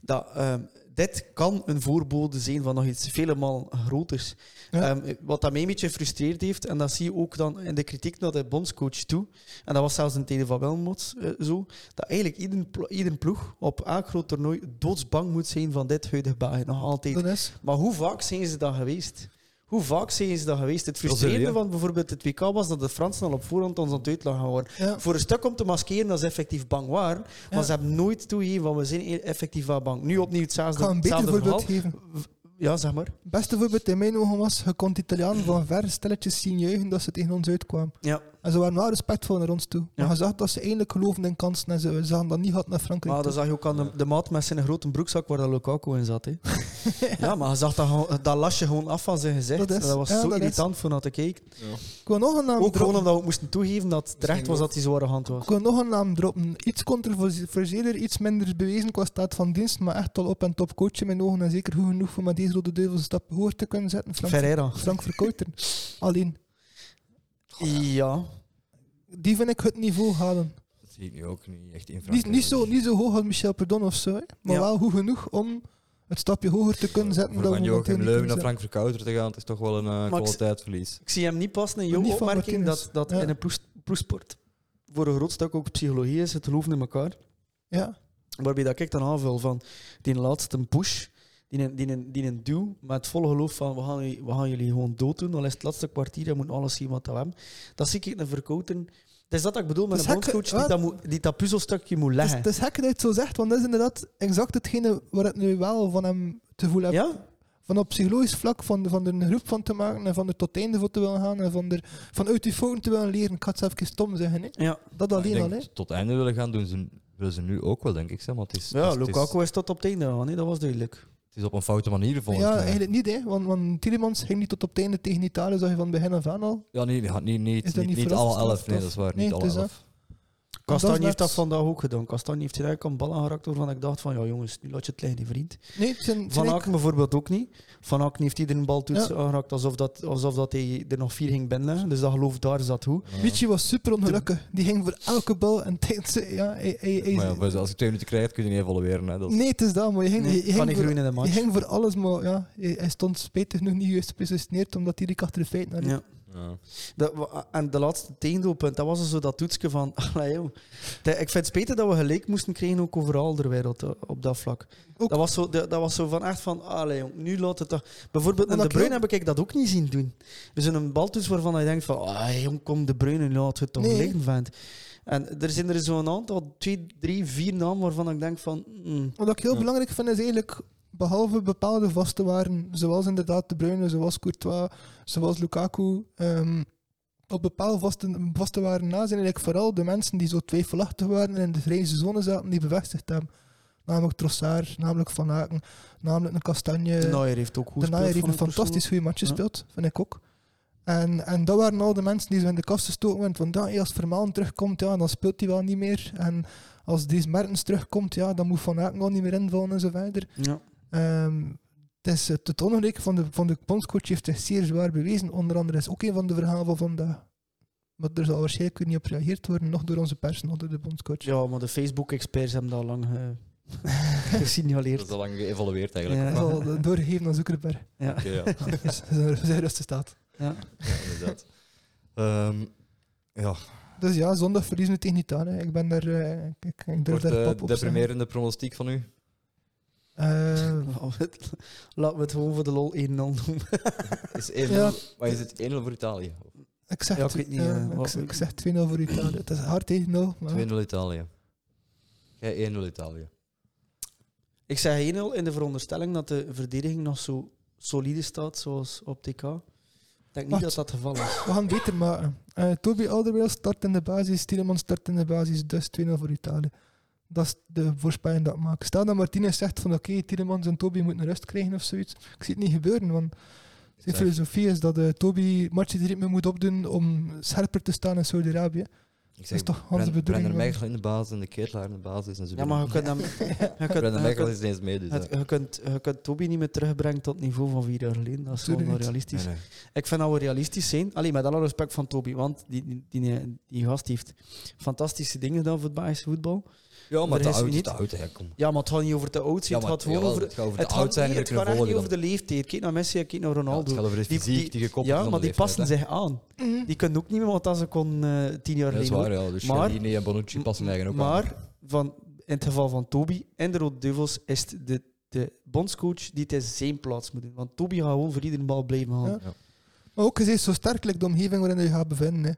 B: dat ehm, dit kan een voorbode zijn van nog iets vele malen groters.
C: Ja.
B: Ehm, wat dat mij een beetje frustreerd heeft, en dat zie je ook dan in de kritiek naar de bondscoach toe, en dat was zelfs in tijden van Wilmots eh, zo, dat eigenlijk ieder, plo- ieder ploeg op elk groot toernooi doodsbang moet zijn van dit huidige België. Nog altijd.
C: Dat is.
B: Maar hoe vaak zijn ze dat geweest? Hoe vaak zijn ze dat geweest? Het
A: Brazilië.
B: frustrerende van bijvoorbeeld het WK was dat de Fransen al op voorhand ons aan het uitlachen waren.
C: Ja.
B: Voor een stuk om te maskeren dat ze effectief bang waren, maar
C: Ja.
B: ze hebben nooit toegegeven van we zijn e- effectief wel bang. Nu opnieuw
C: Ik
B: hetzelfde,
C: ga een beter
B: hetzelfde
C: voorbeeld
B: verhaal.
C: geven.
B: Ja, zeg maar.
C: Het beste voorbeeld in mijn ogen was, je kon de Italianen van ver stilletjes zien juichen dat ze tegen ons uitkwamen.
B: Ja.
C: En ze waren wel respectvol naar ons toe. Maar
B: Ja.
C: je zag dat ze eindelijk geloofden in kansen en ze zagen dat niet had naar Frankrijk
B: Maar dat
C: toe.
B: zag je ook aan de, de maat met zijn grote broekzak waar dat Lukaku in zat. Hè. ja, maar je zag dat, gewoon- dat lasje gewoon af van zijn gezicht.
C: Dat
B: Dat,
C: is-
B: was
C: ja,
B: zo
C: dat is.
B: irritant voor naar te kijken.
C: Ik wil nog een naam
B: Ook gewoon
C: droppen.
B: omdat we het moesten toegeven dat het terecht was dat hij zo aan de hand was.
C: Ik wil nog een naam droppen. Iets controversiëler, iets minder bewezen qua staat van dienst, maar echt al op en top coach in mijn ogen. En zeker goed genoeg om met deze rode duivel een stap hoger te kunnen zetten. Frank,
B: Ferreira.
C: Frank Verkouteren. Alleen,
B: Ja.
C: die vind ik het niveau halen.
A: Dat zie ik nu ook niet echt in
C: Niet,
A: Frankrijk.
C: niet, zo, niet zo hoog als Michel Perdon of zo, hè, maar
B: Ja.
C: wel goed genoeg om het stapje hoger te kunnen zetten.
A: Voor
C: dan
A: van
C: we momenteel
A: Joachim
C: niet
A: Leuven naar
C: kunnen
A: Frank Verkouter te gaan, het is toch wel een eh,
B: ik-
A: kwaliteitsverlies.
B: Ik zie hem niet passen in jouw
C: Niet van
B: opmerking
C: Martinez.
B: dat, dat
C: Ja.
B: in een ploes- ploegsport voor een groot stuk ook psychologie is, het geloven in elkaar.
C: zetten. Ja.
B: Waarbij dat ik dan aanvul van die laatste push, die, die, die een duw met het volle geloof van we gaan, jullie- we gaan jullie gewoon dooddoen, al is het laatste kwartier, je moet alles zien wat we hebben. Dat zie ik een verkoten. Het is dat dat ik bedoel met
C: Het
B: een
C: is gek,
B: bondscoach die
C: wat?
B: dat, moet, die dat puzzelstukje moet
C: Dus Het, is,
B: leggen.
C: het is gek dat je het zo zegt, want dat is inderdaad exact hetgene waar ik nu wel van hem te voelen heb.
B: ja?
C: Van op psychologisch vlak, van, van er een groep van te maken en van er tot het einde voor te willen gaan en van er vanuit die fouten te willen leren. Ik ga het zelf even stom zeggen. Hè.
B: Ja,
C: Dat
A: Maar ik
C: alleen al.
A: denk
C: Hè.
A: dat ze tot het einde willen gaan doen, ze, willen ze nu ook wel, denk ik. Zeg, maar het is, het
B: ja
A: is- het is-
B: Lukaku is tot op het einde gegaan, hè, dat was duidelijk.
A: Het is op een foute manier volgens
C: Ja,
A: mij.
C: eigenlijk niet, hè, want, want Tielemans ging niet tot op het einde tegen Italië, zag je van begin af aan al.
A: Ja, niet, ja, niet, niet,
C: Is dat
A: niet,
C: niet
A: niet
C: verrast,
A: alle elf.
C: of-
A: Nee, dat is waar.
C: Nee,
A: Niet alle
C: het is dat.
A: elf.
C: Dat is
B: Kastanje
C: net-
B: heeft dat vandaag ook gedaan. Kastanje heeft hier eigenlijk een bal aangeraakt waarvan ik dacht van ja jongens, nu laat je het liggen, hè, vriend.
C: Nee, het zijn, het
B: Van
C: zijn eigenlijk-
B: Aken bijvoorbeeld ook niet. Van Aken heeft iedereen een baltoets
C: Ja.
B: aangeraakt alsof, dat, alsof dat hij er nog vier ging binnen. Dus dat geloof daar zat hoe.
C: Michi was super ongelukkig. Die ging voor elke bal en tijdens. Ja, hij, hij, hij-
A: Maar ja, voor- als je twee minuten krijgt, kun je niet evalueren. Hè. Dat is-
C: nee, het is dat, maar je ging, je
B: Nee,
C: ging
B: kan niet
C: voor,
B: groeien in de
C: je
B: match.
C: ging voor alles, maar ja, hij, hij stond spijtig nog niet juist gepositioneerd omdat hij die achter de feit naar liep.
B: Ja.
A: ja.
B: Dat wa- en de laatste tegendoelpunt, dat was dus zo dat toetsje van... allee, joh. De- ik vind het spijtig dat we gelijk moesten krijgen ook overal ter wereld eh, op dat vlak.
C: Ook-
B: Dat, was zo, dat, dat was zo van echt van, allee, jong, nu laat het toch... Bijvoorbeeld in
C: Omdat
B: De
C: ik heel-
B: Bruyne heb ik dat ook niet zien doen. Dus in een baltoets waarvan je denkt van, ah, jong, kom De Bruyne, laat het toch
C: Nee.
B: liggen, vent. En er zijn er zo'n aantal, twee, drie, vier namen waarvan ik denk van... mm,
C: Wat ik heel
A: Ja.
C: belangrijk vind is eigenlijk, behalve bepaalde vaste waren, zoals inderdaad De Bruyne, zoals Courtois, zoals Lukaku, ehm, op bepaalde vaste, vaste waren na zijn eigenlijk vooral de mensen die zo twijfelachtig waren en in de vrije zone zaten, die bevestigd hebben. Namelijk Trossard, namelijk Van Aken, namelijk een Kastanje.
B: De Naaier heeft ook goed
C: Eh, De Naaier heeft een
B: gespeeld van
C: fantastisch goede match
B: Ja.
C: gespeeld, vind ik ook. En, en dat waren al de mensen die zo in de kast gestoken werden. Want ja, hey, als Vermaelen terugkomt, ja, dan speelt hij wel niet meer. En als deze Mertens terugkomt, ja, dan moet Van Aken al niet meer invallen en zo verder.
B: Ja.
C: Ehm, het, is, eh, het ongeluk van de, van de bondscoach heeft zich zeer zwaar bewezen. Onder andere is ook een van de verhalen van vandaag. Maar er zal waarschijnlijk weer niet op gereageerd worden, nog door onze pers, nog door de bondscoach.
B: ja, maar de Facebook-experts hebben dat al lang eh,
A: Dat is
B: gesignaleerd.
A: al lang geëvalueerd eigenlijk.
B: Ja.
C: Dat is al doorgegeven aan Zuckerberg.
B: Ja.
A: Oké, ja.
C: Dus we zijn rustig staat.
B: Ja.
A: Ja, inderdaad. Ehm, ja,
C: Dus ja, zondag verliezen we tegen Italië. Ik ben daar... eh, ik, ik, ik durf
A: wordt
C: daar
A: de,
C: pap op
A: de
C: zijn.
A: primerende pronostiek van u?
C: Eh,
B: Laten we het gewoon voor de lol 1-0 noemen.
A: Is 1-0
C: Ja.
A: Maar is het 1-0 voor Italië? Of
C: ik zeg,
B: Ja, ik weet niet,
C: ja,
B: eh,
C: ik
B: wat-
C: zeg- ik zeg 2-0 voor Italië. Het is hard tegen 0, maar
A: 2-0 Italië. Jij 1-0 Italië.
B: Ik zeg 1-0 in de veronderstelling dat de verdediging nog zo solide staat zoals op TK. Ik denk niet dat
C: Wat?
B: dat het geval is.
C: we gaan het beter maken. Eh Toby Alderweil start in de basis, Tielemans start in de basis, dus 2-0 voor Italië. Dat is de voorspelling dat ik maak. Stel dat Martinez zegt van oké, Tielemans en Toby moeten rust krijgen of zoiets. Ik zie het niet gebeuren, want Zijn
A: Zeg,
C: filosofie is dat eh, Toby matchritme moet opdoen om scherper te staan in Saudi-Arabië.
A: ik
C: Dat is
A: zeg
C: toch onze
A: Brenner
C: bedoeling?
A: Brenner
C: man?
A: Mechel in de basis en de Ketelaar in de basis. En ze
B: Ja, maar je kunt hem... Je kunt,
A: Brenner
B: je
A: Mechel
B: kunt,
A: is ineens mee, dus...
B: het-
A: ja.
B: je kunt, je kunt Toby niet meer terugbrengen tot het niveau van vier jaar geleden. Dat is
C: Tuurlijk
B: gewoon
C: niet.
B: onrealistisch.
A: Nee, nee.
B: Ik vind dat we realistisch zijn. Alleen met alle respect van Toby, want die, die, die, die gast heeft fantastische dingen gedaan voor het Belgische voetbal.
A: Ja, maar
B: Er
A: te
B: is
A: oud,
B: niet-
A: te oud, hè, kom.
B: Ja, maar het gaat niet over te oud zijn.
A: Ja, maar
B: het gaat gewoon
A: jawel,
B: over...
A: het gaat over
B: Het
A: de
B: gaat,
A: oud zijn
B: niet,
A: en
B: het
A: er
B: gaat
A: kunnen
B: echt niet
A: volgen.
B: over de leeftijd. Kijk naar Messi, kijk naar
A: Ja,
B: Ronaldo.
A: Het gaat over de fysiek die gekoppeld is
B: ja,
A: aan
B: maar
A: de
B: Nou, die
A: leeftijd,
B: passen zich aan. Die kunnen ook niet meer wat als ze kon eh, tien jaar
A: hè. Dat is
B: geleden.
A: waar, ja. Dus
B: Maar-
A: Chiellini en Bonucci passen eigenlijk ook aan.
B: maar van, in het geval van Toby en de Rode Duivels is het de, de bondscoach die het in zijn plaats moet doen. Want Toby gaat gewoon voor iedere bal blijven gaan.
C: Ja. Maar ook gezien zo sterk lijkt de omgeving waarin je gaat bevinden. Hè.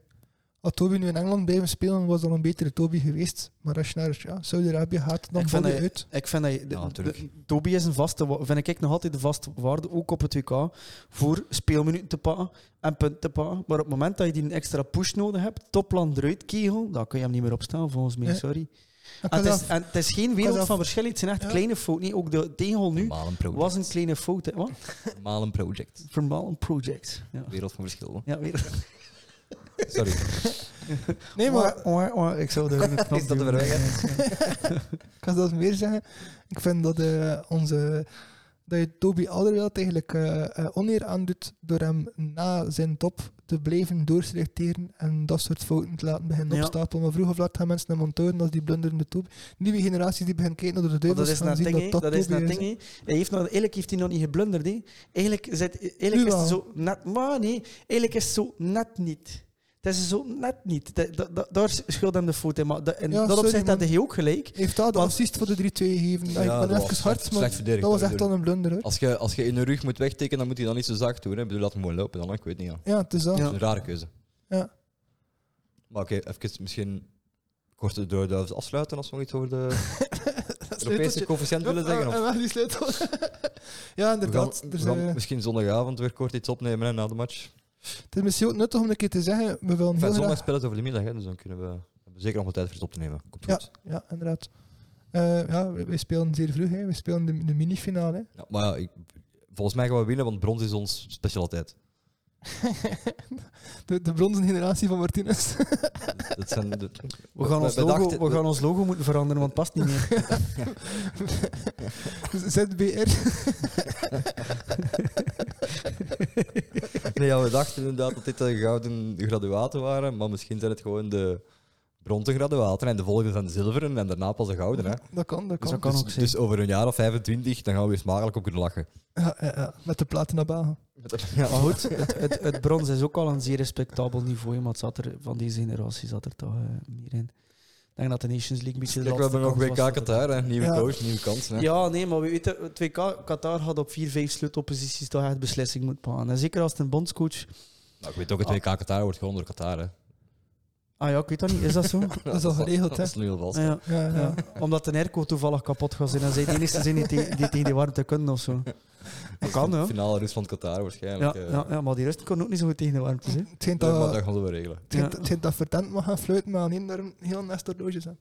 C: Had Toby nu in Engeland blijven spelen, was dan een betere Toby geweest. Maar als je naar ja, Saudi-Arabië gaat, dan
B: Ik
C: val
B: vind
C: je
B: dat-
C: uit.
B: Ik vind dat je- de-
A: Ja, natuurlijk.
B: de- Toby is een vaste, wa- vind ik nog altijd de vaste waarde, ook op het WK, voor speelminuten te pakken en punten te pakken. Maar op het moment dat je die een extra push nodig hebt, toplan eruit kegel, dan kun je hem niet meer opstaan, volgens mij.
C: Nee.
B: Sorry.
C: Ik
B: En
C: had
B: Ah, het, is,
C: dat-
B: en het is geen wereld
C: dat-
B: van verschil, het zijn echt
C: Ja.
B: kleine fouten. niet. Ook de tegenhol nu
A: Normaal een
B: was
A: project.
B: een kleine fout. hè. Wat?
A: Normaal een project.
B: Vermaal een project. Ja.
A: Wereld van verschil.
B: Ja, weer.
A: Sorry.
C: Nee, maar
B: Oor, oor, oor. ik zou de knop
A: Is dat
B: duwen.
A: er weer
C: ik kan zelfs meer zeggen. Ik vind dat, eh, onze, dat je Toby Alderweireld eigenlijk eh, eh, oneer aandoet door hem na zijn top te blijven doorselecteren en dat soort fouten te laten beginnen
B: Ja.
C: opstapelen. Maar vroeg of laat gaan mensen hem onthouden als die blunderende Toby. Nieuwe generaties die beginnen kijken naar de
B: Want dat
C: duivels
B: is
C: gaan
B: een
C: zien
B: ding, hè.
C: dat dat,
B: dat is
C: Toby
B: een ding. hè. Hij heeft nog, eigenlijk heeft hij nog niet geblunderd. hè. Eigenlijk, is het,
C: Nu
B: eigenlijk is
C: wel.
B: het zo net... Maar nee, eigenlijk is het zo net niet. Het is zo net niet. Dat, dat, dat- daar schuld hem de fout in. Maar dat, in
C: Ja,
B: dat
C: sorry,
B: opzicht had
C: man.
B: hij ook gelijk.
C: Heeft dat de
B: Want-
C: assist voor de 3-2 gegeven? Ja,
A: Ja,
C: ik
A: dat
C: ben
A: was
C: even
A: slecht-
C: hard, maar
A: slecht verdedigd,
C: dat was
A: dat
C: echt
A: bedoel
C: al een blunder. Hoor.
A: Als je, als je in de rug moet wegtikken, dan moet hij dat niet zo zacht doen. Hè. Ik bedoel, laat hem gewoon lopen dan. hè. Ik weet niet. Ja.
C: Ja, het is dat.
B: Ja.
A: Dat is een rare keuze.
C: Ja.
A: Maar oké, even misschien kort de doorduivels afsluiten als we nog iets over de Europese
C: Sleuteltje.
A: coëfficiënt willen
C: Ja,
B: eh,
A: zeggen. Of
C: en wel ah, die sleutel. ja,
A: we gaan,
C: inderdaad.
A: we
C: Dus,
A: gaan
C: eh,
A: misschien zondagavond weer kort iets opnemen hè, na de match.
C: het is misschien ook nuttig om een keer te zeggen, we willen heel
A: Enfin, zondag
C: graag...
A: spelen ze over de middag, hè, dus dan kunnen we, hebben we zeker nog wat tijd voor iets op te nemen. Komt
C: Ja,
A: goed.
C: ja, inderdaad. Eh, ja, wij wij spelen zeer vroeg, hè. we spelen de, de minifinale. hè.
A: Ja, maar ja, ik, volgens mij gaan we winnen, want brons is ons specialiteit.
C: De, de bronzen generatie van Martinez.
A: Dat zijn de,
B: We gaan, ons
A: we
B: logo,
A: dachten-
B: we gaan ons logo moeten veranderen, want het past niet meer.
C: ZBR.
A: Nee, ja, we dachten inderdaad dat dit de gouden graduaten waren, maar misschien zijn het gewoon de bronzen graduaten en de volgende zijn de zilveren en daarna pas de gouden. Hè.
C: Dat kan, dat kan.
B: Zo kan
A: dus,
B: ook zijn.
A: dus over een jaar of 25, dan gaan we weer smakelijk op kunnen lachen.
C: Ja, ja, ja, met de platen naar Bagen.
A: Ja.
B: Maar goed, het, het, het brons is ook al een zeer respectabel niveau. hè, Maar het zat er, van deze generatie zat er toch eh, meer in. Ik denk dat de Nations League een beetje de
A: Kijk, we
B: laatste
A: hebben nog
B: kans was
A: WK
B: voor de-
A: Qatar, hè. nieuwe
C: Ja.
A: coach, nieuwe kans. Hè.
B: Ja, nee, maar we weten, het WK Qatar had op 4-5 sleutelposities toch echt beslissing moeten maken. En zeker als het een bondscoach.
A: Nou, ik weet ook, het WK Qatar wordt gewoon door Qatar. Hè.
B: Ah ja, ik weet dat niet, is dat zo?
C: Dat is al geregeld, hè.
A: Dat is nu heel vast.
B: Ah ja.
C: Ja, ja.
B: Ja, omdat de airco toevallig kapot gaat zijn en zij de enige zijn die, te- die tegen die warmte kunnen of zo. Dat kan, hè?
A: Finale Rusland-Qatar waarschijnlijk.
B: Ja,
A: eh.
B: ja, ja, maar die rust kon ook niet zo goed tegen de warmte. Hè.
C: Het schijnt
A: Nee, maar
C: dat,
A: dat gaan we wel regelen.
C: het schijnt-
B: Ja.
C: het schijnt dat Verdant mag gaan fluiten, maar alleen daar een heel nest horloges aan.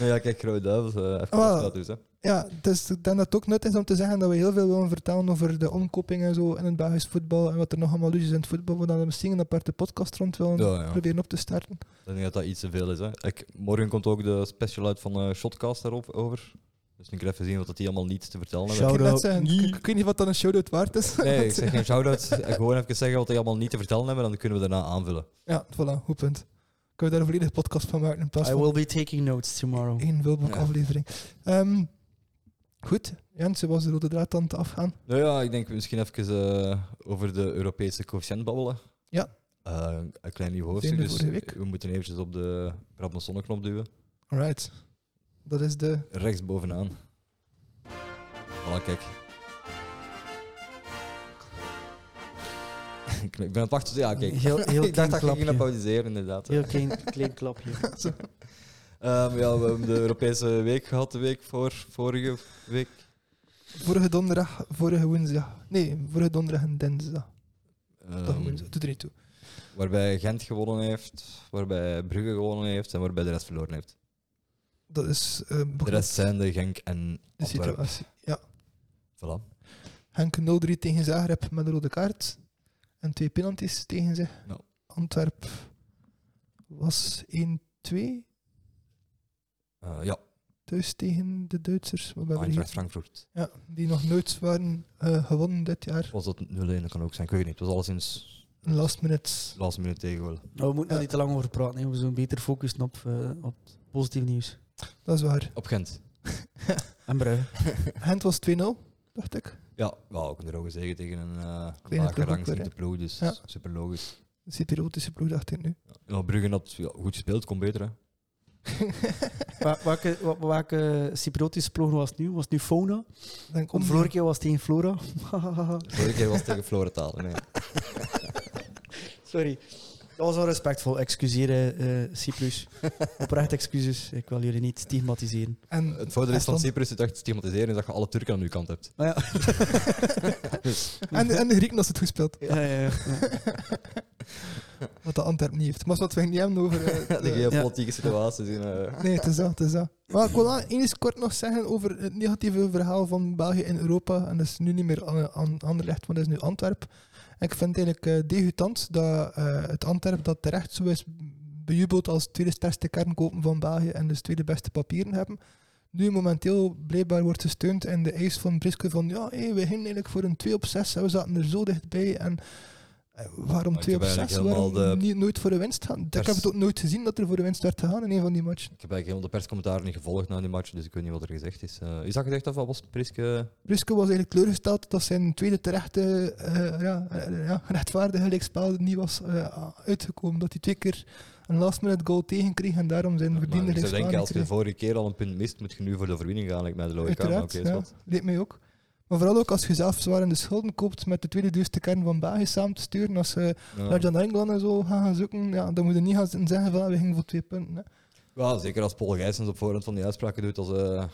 A: Nee, ja, kijk, Rode Duivels, eh, even
C: Ah,
A: afsluiten dus, hè.
C: Ja, dus ik denk dat het ook nut is om te zeggen dat we heel veel willen vertellen over de omkoping en zo in het Belgisch voetbal en wat er nog allemaal loes is in het voetbal, waar we dan misschien een aparte podcast rond willen
A: Ja, ja.
C: proberen op te starten.
A: Ik denk dat dat iets te veel is. Hè. Ik, morgen komt ook de special uit van eh, Shotcast daarop over. Dus ik ga even zien wat dat die allemaal niet te vertellen hebben.
B: Shout-
C: Ik,
B: Zou
C: net
B: dat
C: zeggen,
B: niet-
C: ik, ik weet niet wat dan een show-out waard is.
A: Nee, ik zeg geen shout-out. Eh, Gewoon even zeggen wat die allemaal niet te vertellen hebben, dan kunnen we daarna aanvullen.
C: Ja, voilà, goed punt. Kunnen we daar een volledige podcast van maken in plaats
B: I
C: van
B: will be taking notes tomorrow.
C: één Wilbok
A: Ja.
C: aflevering. Ehm, goed, Jens, hoe was de rode draad aan te afgaan?
A: Nou ja, ik denk misschien even eh, over de Europese coëfficiënt babbelen.
C: Ja.
A: Eh, een klein nieuw hoofdstuk,
C: Einde
A: dus
C: vorige week.
A: we moeten eventjes op de Brabantsonneknop duwen.
C: Alright. Dat is de
A: Rechts bovenaan. Voilà, kijk. ik ben aan het wachten. tot- Ja, kijk.
B: Heel, heel
A: ik
B: klein
A: dacht dat ik ging
B: klapje.
A: applaudisseren, inderdaad.
B: Heel klein, klein klapje.
A: Ehm, ja, we hebben de Europese week gehad, de week voor vorige week.
C: vorige donderdag, vorige woensdag. Nee, vorige donderdag en dinsdag. Dag
A: Ehm,
C: woensdag, doet er niet toe.
A: waarbij Gent gewonnen heeft, waarbij Brugge gewonnen heeft en waarbij de rest verloren heeft.
C: Dat is eh,
A: De rest zijn de Genk en
C: de
A: Antwerpen.
C: situatie. Ja.
A: Voilà.
C: Henk 0-3 tegen Zagreb met een rode kaart. En twee penalties tegen zich.
A: Nou.
C: Antwerp was 1-2
A: Eh, ja,
C: thuis tegen de Duitsers. Wat hebben we hier?
A: Eintracht Frankfurt.
C: Ja, die nog nooit waren eh, gewonnen dit jaar.
A: Was dat 0-1? Dat kan ook zijn. Ik weet het niet. Het was al sinds
C: Een last minute.
A: de laatste minuut tegengoal.
B: Nou, we moeten
C: Ja.
B: daar niet te lang over praten. hè. We zullen beter focussen op, eh, op positief nieuws.
C: Dat is waar.
A: Op Gent.
B: En Brugge.
C: Gent was 2-0, dacht ik.
A: Ja, wel ook een droge zege tegen een eh
C: Kleine
A: lager
C: ploeg ook weer,
A: rangziende ploeg. Dus
C: Ja.
A: super logisch.
C: Dat is die erotische ploeg, dacht ik nu.
A: Ja, Brugge had ja, goed gespeeld, kon beter. Hè.
B: Wa- welke, wa- welke Cypriotische ploeg was het nu? Was het nu Fauna?
C: Denk
B: Om vorige keer was het tegen Flora.
A: Vorige keer was het tegen Florentalen. Nee.
B: Sorry. Dat was onrespectvol. Excuseren, eh Cyprus. Oprecht excuses. Ik wil jullie niet stigmatiseren.
C: En
A: Het voordeel is van
C: Estland.
A: Cyprus, het echt te stigmatiseren, is dat je alle Turken aan je kant hebt.
B: Maar Ah, ja.
C: En, en de Grieken had het goed gespeeld.
B: Ja, ja, ja.
C: Wat de Antwerp niet heeft. Maar wat wij niet hebben over. eh,
A: De
C: de-
A: geopolitieke situaties in. eh,
C: nee, het is dat, het is dat. Maar ik wil wel eens kort nog zeggen over het negatieve verhaal van België in Europa. En dat is nu niet meer aan, aan Anderlecht, maar dat is nu Antwerp. En ik vind het eigenlijk eh, degutant dat eh, het Antwerp dat terecht zo is bejubeld als tweede sterkste kernkopen van België en dus tweede beste papieren hebben. Nu momenteel blijkbaar wordt gesteund in de eis van Briske van ja, hé, we gingen eigenlijk voor een 2 op 6 en we zaten er zo dichtbij en eh, waarom
A: Ik
C: 2 op
A: heb
C: 6?
A: eigenlijk
C: Waarom
A: helemaal de
C: niet, nooit voor de winst gaan? Ik heb
A: pers-
C: het ook nooit gezien dat er voor de winst werd gegaan in een van die matchen.
A: Ik heb eigenlijk helemaal de perscommentaar niet gevolgd na die match, dus ik weet niet wat er gezegd is. Eh, is dat gezegd of wat was Priske?
C: Ruske was eigenlijk teleurgesteld dat zijn tweede terechte, eh ja, eh, ja, rechtvaardige gelijkspel niet was eh, uitgekomen. Dat hij twee keer een last minute goal tegenkreeg en daarom zijn
A: Maar
C: verdiende
A: ik zou
C: gelijkspel
A: denken,
C: niet
A: als je
C: kreeg.
A: de vorige keer al een punt mist, moet je nu voor de overwinning gaan, lijkt mij de logica. Maar
C: Uiteraard,
A: oké, is
C: ja.
A: wat.
C: Leek mij ook. Maar vooral ook als je zelf zwaar in de schulden koopt met de tweede duurste kern van België samen te sturen. Als je
A: Ja.
C: naar Jan Engeland en zo gaat gaan zoeken, ja, dan moet je niet gaan zitten zeggen van ah, we gingen voor twee punten. Hè.
A: Ja, zeker als Paul Gijsens op voorhand van die uitspraken doet als eh,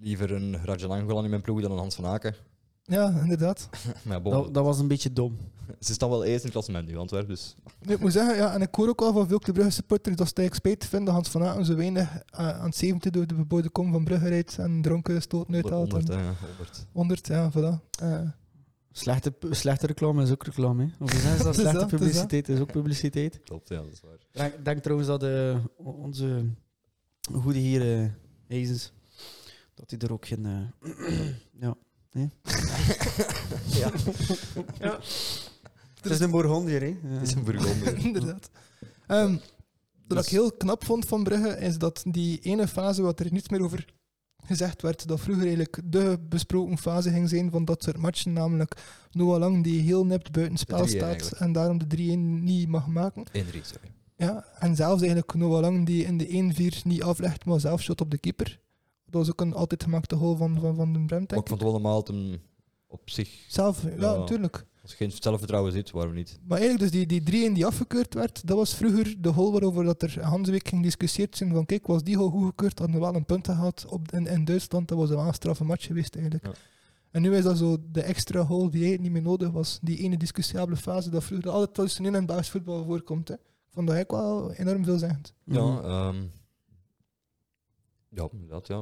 A: liever een Rajan Angolan in mijn ploeg dan een Hans van Aken.
C: Ja, inderdaad.
A: Maar ja, bon,
B: Dat, dat was een beetje dom.
A: ze staan wel eerst in het klassement nu, Antwerpen. Dus.
C: Nee, ik moet zeggen, ja, en ik hoor ook al van veel Club Brugge supporters dat ze het eigenlijk spijtig vinden dat Hans van Aken zo weinig eh, aan het 70 door de bebouwde kom van Brugge rijdt en dronken stoten uithaalt.
A: 100,
C: 100,
A: hè, 100.
C: 100 ja, voilà. Eh,
B: Slechte, slechte reclame is ook reclame. Hè. Of hoe zeggen ze dat
C: Het is
B: slechte
C: dat, het is
B: publiciteit is ook publiciteit.
A: Klopt, ja, dat is waar.
B: Ik denk, denk trouwens dat eh, o- onze goede hier, eh Hazes, dat hij er ook geen... eh, ja. Nee. ja. Het is een Bourgondier, hè? Ja.
A: Het is een Burgonder.
C: inderdaad. Ehm, wat
A: Dus-
C: ik heel knap vond van Brugge is dat die ene fase wat er niets meer over gezegd werd, dat vroeger eigenlijk de besproken fase ging zijn van dat soort matchen, namelijk Noah Lang die heel nipt buitenspel
A: 3-1
C: staat
A: eigenlijk.
C: en daarom de 3-1 niet mag maken.
A: 1-3, sorry.
C: Ja, en zelfs eigenlijk Noah Lang die in de 1-4 niet aflegt, maar zelf shot op de keeper. Dat was ook een altijd gemaakte goal van, van, van de Bremt,
A: Maar ik
C: denk ik.
A: vond het wel normaal dat hem op zich,
C: Zelf, ja,
A: Ja.
C: natuurlijk.
A: als er geen zelfvertrouwen zit, waarom niet?
C: Maar eigenlijk, dus die, die 3-1 die afgekeurd werd, dat was vroeger de goal waarover dat er Hans Week ging discussieerd zijn van kijk, was die goal goedgekeurd, hadden we wel een punt gehad op, in, in Duitsland. Dat was wel een straffe match geweest eigenlijk.
A: Ja.
C: En nu is dat zo de extra goal die eigenlijk niet meer nodig was. Die ene discussiabele fase dat vroeger altijd traditioneel in het Belgisch voetbal
B: Mhm.
C: voorkomt. Hè. Ik vond dat eigenlijk wel enorm veelzeggend.
A: Ja, ehm, Ja, inderdaad, ja.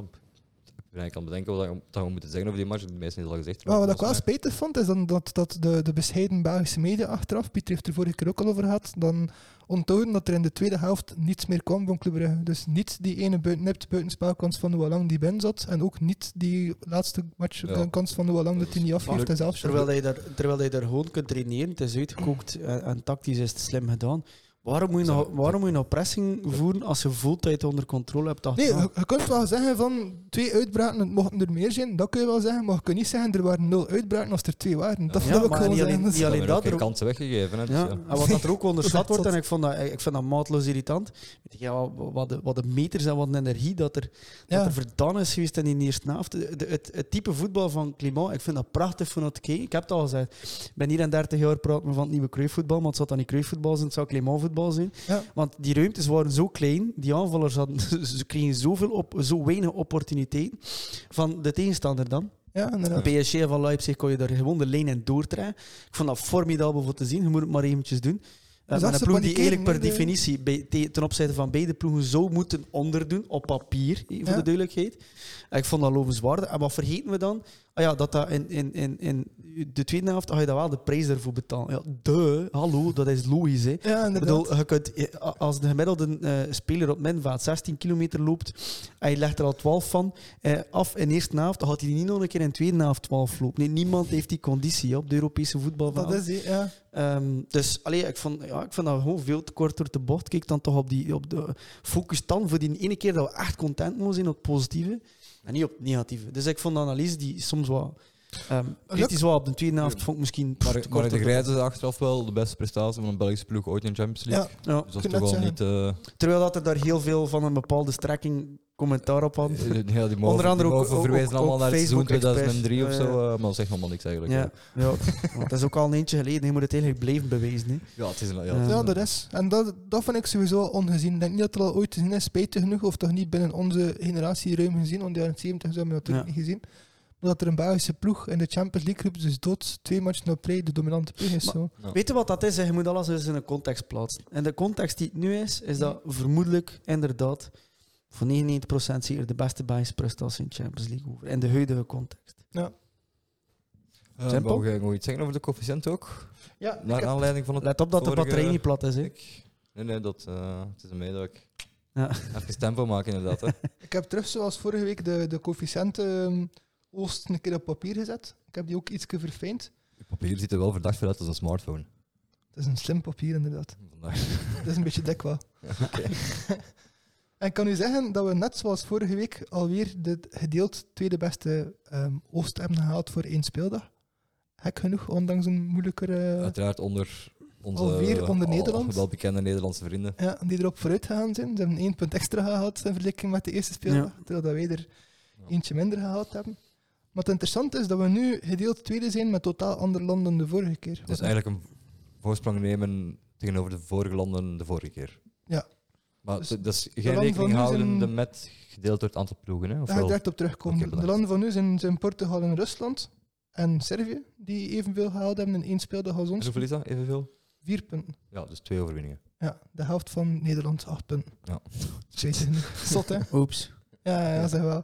A: Ik ben eigenlijk aan het bedenken wat we- wat we moeten zeggen over die match. De meesten is al gezegd.
C: Maar wat ik wel
A: volgens
C: spijtig vond, is dan dat, dat de, de bescheiden Belgische media achteraf, Pieter heeft er vorige keer ook al over gehad, dan onthouden dat er in de tweede helft niets meer kwam van Club Brugge. Dus niet die ene buiten, nipt buitenspelkans van Noalang die binnen zat, en ook niet die laatste match eh,
A: Ja.
C: kans van Noalang dat hij niet afgeeft en zelf
B: Terwijl dat je, daar, terwijl dat je daar gewoon kunt traineren, het is uitgekookt en, en tactisch is het slim gedaan. Waarom moet, je
A: Is dat-
B: nou, waarom moet je nou pressing voeren als je voelt dat je het onder controle hebt?
C: Nee,
B: achteraf?
C: je, je kunt wel zeggen van twee uitbraken, het mochten er meer zijn, dat kun je wel zeggen, maar je kunt niet zeggen er waren nul uitbraken als er twee waren. Dat
A: Ja,
C: wil ik
B: maar
C: gewoon
B: niet alleen-
C: zeggen. Dat is-
A: mij.
B: alleen
A: Ja,
B: dat
A: we hebben ook geen
B: er-
A: kansen weggegeven. Hè, dus
B: Ja, Ah,
A: ja.
B: en wat dat er ook onderschat
C: Dat
B: wordt,
C: zot.
B: en ik vond dat, ik vind dat maatloos irritant. Weet je, ja, wat, de, wat de meters en wat de energie dat er, dat
C: Ja.
B: er verdaan is geweest in die eerste helft. De- de- het, het type voetbal van Clément, ik vind dat prachtig van het kijken. Ik heb het al gezegd, ik ben hier en 30 jaar praten we van het nieuwe kruifvoetbal, maar het zou dan niet kruifvoetbal zijn, het zou Clément voetbal zijn.
C: Ja.
B: Want die ruimtes waren zo klein, die aanvallers hadden, ze kregen zoveel op, zo weinig opportuniteiten van de tegenstander dan.
C: Ja, inderdaad.
B: Bij PSG van Leipzig kon je daar gewoon de lijn in doortrekken. Ik vond dat formidabel voor te zien. Je moet het maar eventjes doen. Eh,
C: Dus
B: maar
C: als
B: een
C: ze
B: ploeg die
C: panikeren,
B: eigenlijk per
C: hè, de-
B: definitie bij- te- ten opzichte van beide ploegen zou moeten onderdoen, op papier, eh, voor
C: Ja.
B: de duidelijkheid. En ik vond dat lovenswaardig. En wat vergeten we dan? Ah ja, dat dat in, in, in, in de tweede helft ah ga je daar wel de prijs daarvoor betalen. Ja, de, hallo, dat is logisch. Hè.
C: Ja,
B: Ik
C: inderdaad.
B: bedoel, je kunt, eh, a- als de gemiddelde eh, speler op Minvaat 16 kilometer loopt en je legt er al 12 van eh, af in eerste helft, dan gaat hij niet nog een keer in tweede helft 12 lopen. Nee, niemand heeft die conditie ja, op de Europese voetbal.
C: Dat is die, ja.
B: Ehm, dus allee, ik, vond, ja, ik vond dat gewoon veel te kort door de bocht. Kijk dan toch op die op de, focus dan voor die ene keer dat we echt content moeten zijn op het positieve en niet op het negatieve. Dus ik vond de analyse die soms wel ehm kritisch was op de tweede helft, vond ik misschien pff,
A: Maar,
B: te
A: maar
B: kort
A: de
B: door de
A: Grijze is achteraf wel de beste prestatie van een Belgische ploeg ooit in de Champions League.
B: bocht.
C: Ja.
B: Ja.
A: Dus dat is
C: Ik kan
A: toch wel
C: dat
A: niet... eh
B: Terwijl dat er daar heel veel van een bepaalde strekking commentaar op had.
A: ja, eh, die mogen,
B: Onder andere
A: die
B: ook-
A: mogen
B: ook-
A: verwijzen
B: ook-
A: allemaal
B: ook
A: naar het seizoen
B: Facebook-experts.
A: 2003 of
B: Ja,
A: zo,
B: ja.
A: eh, maar dat zegt helemaal niks eigenlijk.
B: Ja,
A: ja.
B: ja. Want dat is ook al een eentje geleden. Je moet het eigenlijk blijven bewijzen. Hè.
A: Ja, het is een... Ja,
B: Ja.
C: Ja, dat is. En eh, dat, dat vind ik sowieso al ongezien. Ik denk niet dat er al ooit gezien is, spijtig genoeg, of toch niet binnen onze generatie ruim gezien. Want in de jaren 70 hebben we dat natuurlijk
B: Ja.
C: niet gezien. Maar dat er een Belgische ploeg in de Champions League groep dus dood twee matchen op rij de dominante ploeg is.
B: Maar-
C: Zo.
A: Ja.
B: Weet je wat dat is? hè? Je moet alles eens in een context plaatsen. En de context die het nu is, is dat vermoedelijk inderdaad voor 99% zeker de beste Belgische prestatie in de Champions League over. In de huidige context.
A: Eh,
B: Simpel.
A: Wou jij nog iets zeggen over de coëfficiënt ook?
C: Ja, ik
A: Naar
C: heb-
A: aanleiding van het...
B: Let op dat de
A: Vorige-
B: batterij niet plat is. Hè.
A: Ik- Nee, nee, dat, eh, het is een mee dat ik
B: Ja.
A: even tempo maak inderdaad. Hè.
C: ik heb terug, zoals vorige week, de, de coëfficiënten ehm, oost een keer op papier gezet. Ik heb die ook iets verfijnd.
A: Het papier ziet er wel verdacht veel uit als een smartphone.
C: Het is een slim papier, inderdaad.
A: Vandaag.
C: Het is een beetje dik wel. en ik kan u zeggen dat we net zoals vorige week alweer de gedeeld tweede beste ehm, Oost hebben gehaald voor één speeldag. Hek genoeg, ondanks een moeilijkere...
A: Uiteraard onder onze
C: Alweer eh, oh, onder
A: al-
C: Nederland?
A: wel bekende Nederlandse vrienden.
C: ja, die erop vooruit gegaan zijn. Ze hebben één punt extra gehaald in vergelijking met de eerste speeldag. Terwijl dat wij er
A: Ja.
C: eentje minder gehaald hebben. Maar het interessante is dat we nu gedeeld tweede zijn met totaal andere landen dan de vorige keer.
A: Dus eigenlijk een voorsprong nemen tegenover de vorige landen de vorige keer.
C: Ja.
A: Maar
C: Dus
A: dat is
C: landen
A: geen
C: van
A: rekening
C: nu
A: houden
C: zijn-
A: met gedeeld door het aantal ploegen, hè? Of
C: Daar ga ik
A: wel?
C: direct op terugkomen.
A: Oké,
C: de
A: bedankt.
C: landen van nu zijn, zijn Portugal en Rusland en Servië, die evenveel gehaald hebben in één speeldag als
A: En
C: ons.
A: hoeveel is dat? Evenveel?
C: Vier punten.
A: Ja, dus twee overwinningen.
C: Ja, de helft van Nederland, acht punten.
A: Ja.
C: Weet niet. Zot, hè?
B: Oeps.
C: Ja, ja, zeg wel.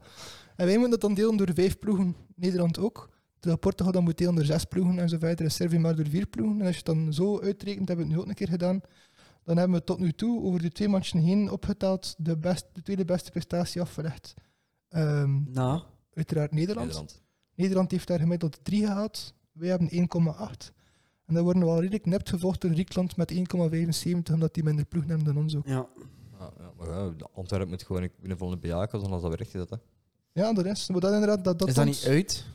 C: En wij moeten dat dan delen door vijf ploegen. Nederland ook. Terwijl Portugal dan moet delen door zes ploegen en zo verder. En Servië maar door vier ploegen. En als je het dan zo uitrekent, hebben we het nu ook een keer gedaan. Dan hebben we tot nu toe over de twee matchen heen opgeteld de, best, de tweede beste prestatie afgelegd. Ehm,
B: Nou,
C: uiteraard Nederland. Nederland.
A: Nederland.
C: heeft daar gemiddeld 3 gehaald. Wij hebben 1,8. En dan worden we al redelijk net gevolgd door Griekenland met 1,75, omdat die minder ploegen hebben dan ons ook.
B: ja.
A: Ah, ja, maar ja, de Antwerpen moet gewoon binnen van de Biakos, anders dat werkt dat, hè?
C: Ja, dat is. Maar dat inderdaad, dat, dat
B: is dat
C: ons-
B: niet uit?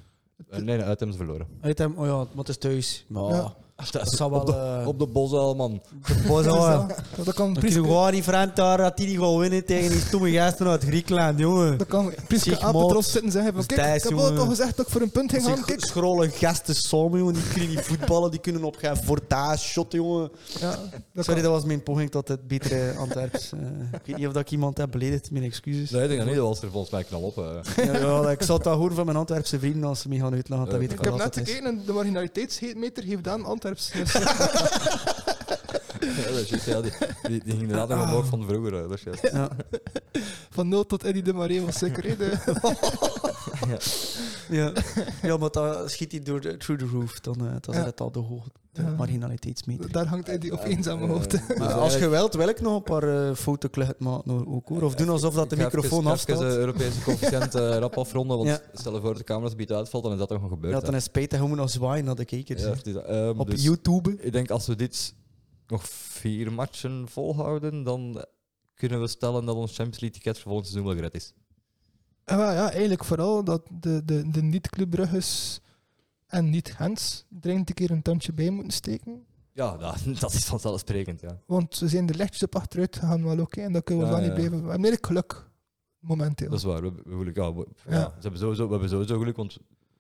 A: Eh, Nee, nee, uit hebben ze verloren.
B: Uit hem, oh ja, maar het is thuis. Maar
C: Ja.
B: dat zal
A: op,
B: wel...
A: de,
B: eh,
A: op de Bosel, man.
B: boos
C: dat, is
B: houden.
C: dat, dat kan
B: Ik
C: Priske-
B: zie gewoon die vriend daar dat die niet gaat winnen tegen die stomme gasten uit Griekenland, jongen.
C: Dan kan Priske
B: Zeg,
C: Apeltros
B: maat.
C: zitten en zeggen van
B: Dat is
C: kijk, ik
B: Thijs,
C: heb wel
B: jongen.
C: toch gezegd dat ik voor een punt ging gaan,
B: Dat zijn
C: kijk.
B: schrolle gasten samen, jongen. Die kunnen niet voetballen, die kunnen op geen fortaas shotten, jongen.
C: Ja, dat
B: Sorry,
C: kan.
B: dat was mijn poging tot het betere Antwerps. Eh, ik weet niet of dat ik iemand heb beledigd, mijn excuses.
A: Nee, ik denk dat niet. Dat was er volgens mij knal op. eh. hè.
B: Ja, ja, ik zal het wel horen van mijn Antwerpse vrienden als ze me gaan uitlachen. Dat
A: Eh,
B: weet ik
C: Ik heb
B: wel dat
C: net
B: het is.
C: gekeken en de marginaliteitsmeter geeft aan Antwerps. Dus
A: Ja, dat is juist, ja, die, die, die ging inderdaad nog omhoog van vroeger. hè, Dat is juist.
B: Ja.
C: Van 0 tot Eddie de Maree was zeker. hè, de-
B: Ja. ja, maar dan schiet hij door de, through the roof. Dan, eh, dan
C: Ja.
B: zit het al de, hoog, de
C: Ja.
B: marginaliteitsmeter.
C: Daar hangt Eddie opeens aan mijn
A: Eh,
C: hoofd.
A: eh, dus
B: Maar als je
A: eigenlijk-
B: wilt, wil ik nog een paar eh fotocluggen maken nou, ook hoor. Of doen alsof dat de
A: Ik ga
B: microfoon
A: even, even
B: afstaat.
A: de Europese coëfficiënt eh, rap afronden, want
B: Ja.
A: stel je voor dat de camera's uitvalt, dan is dat toch nog gebeurd.
B: Ja, dan
A: hè.
B: is spijtig, we moeten nog zwaaien naar de kijkers.
A: Ja, het is dat. Ehm,
B: Op
A: dus
B: YouTube.
A: Ik denk als we dit nog vier matchen volhouden, dan kunnen we stellen dat ons Champions League ticket voor volgend seizoen wel gered is.
C: En wel, ja, eigenlijk vooral dat de, de, de niet-Club Brugge's en niet-Gens er een keer een tandje bij moeten steken.
A: Ja, dat, dat is vanzelfsprekend. Ja.
C: Want ze zijn er lichtjes op achteruit gegaan, wel oké. en dat kunnen we
A: Ja,
C: wel niet
A: ja.
C: blijven. We hebben eigenlijk geluk, momenteel.
A: Dat is waar. We, hebben- we, hebben geluk- ja, we-
C: Ja.
A: ja, ze hebben sowieso, we hebben sowieso geluk, want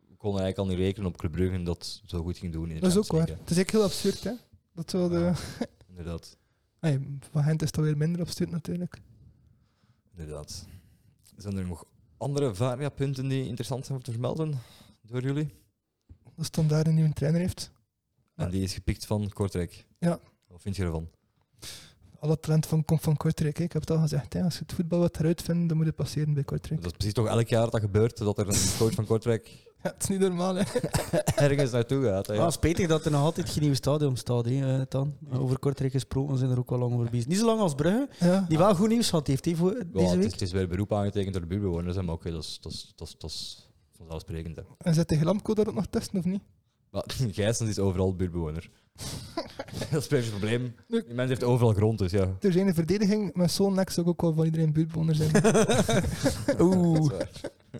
A: we konden eigenlijk al niet rekenen op Club Brugge dat het zo goed ging doen. In de
C: Dat is ook
A: Champions
C: waar.
A: League,
C: Het is eigenlijk heel absurd, hè. Dat we de...
A: Ja. hè. Inderdaad.
C: Nee, van Gent is het alweer minder absurd, natuurlijk.
A: inderdaad. Zijn er nog andere variapunten die interessant zijn om te vermelden door jullie?
C: Dat stond daar een nieuwe trainer heeft. Ja.
A: En die is gepikt van Kortrijk.
C: Ja.
A: Wat vind je ervan?
C: Alle talent van, komt van Kortrijk. hè. Ik heb het al gezegd. Hè. Als je het voetbal wat eruit vindt, dan moet het passeren bij Kortrijk.
A: Dat is precies toch elk jaar dat dat gebeurt, dat er een coach van Kortrijk
C: Ja, het is niet normaal, hè.
A: ergens naartoe gaat. hè.
B: Ah, spijtig dat er nog altijd geen nieuw stadion staat. Hè, eh, dan. Over Kortrijk gesproken zijn er ook al lang over bezig. Niet zo lang als Brugge,
C: Ja.
B: die wel goed nieuws had heeft hè, voor
A: Ja,
B: deze
A: het, is,
B: week.
A: het is weer beroep aangetekend door de buurtbewoners, hè, maar oké, dat is- dat is- dat is- dat is vanzelfsprekend. hè.
C: En zet de Glamco daar ook nog testen, of niet?
A: Maar Gijsens is overal buurtbewoner. dat is precies het probleem.
C: Nu-
A: Die mens heeft overal grond, dus ja.
C: Er zijn een verdediging, maar zo'n nek zou ik ook wel van iedereen buurtbewoner zijn.
A: Dat is
B: Oeh,
A: waar.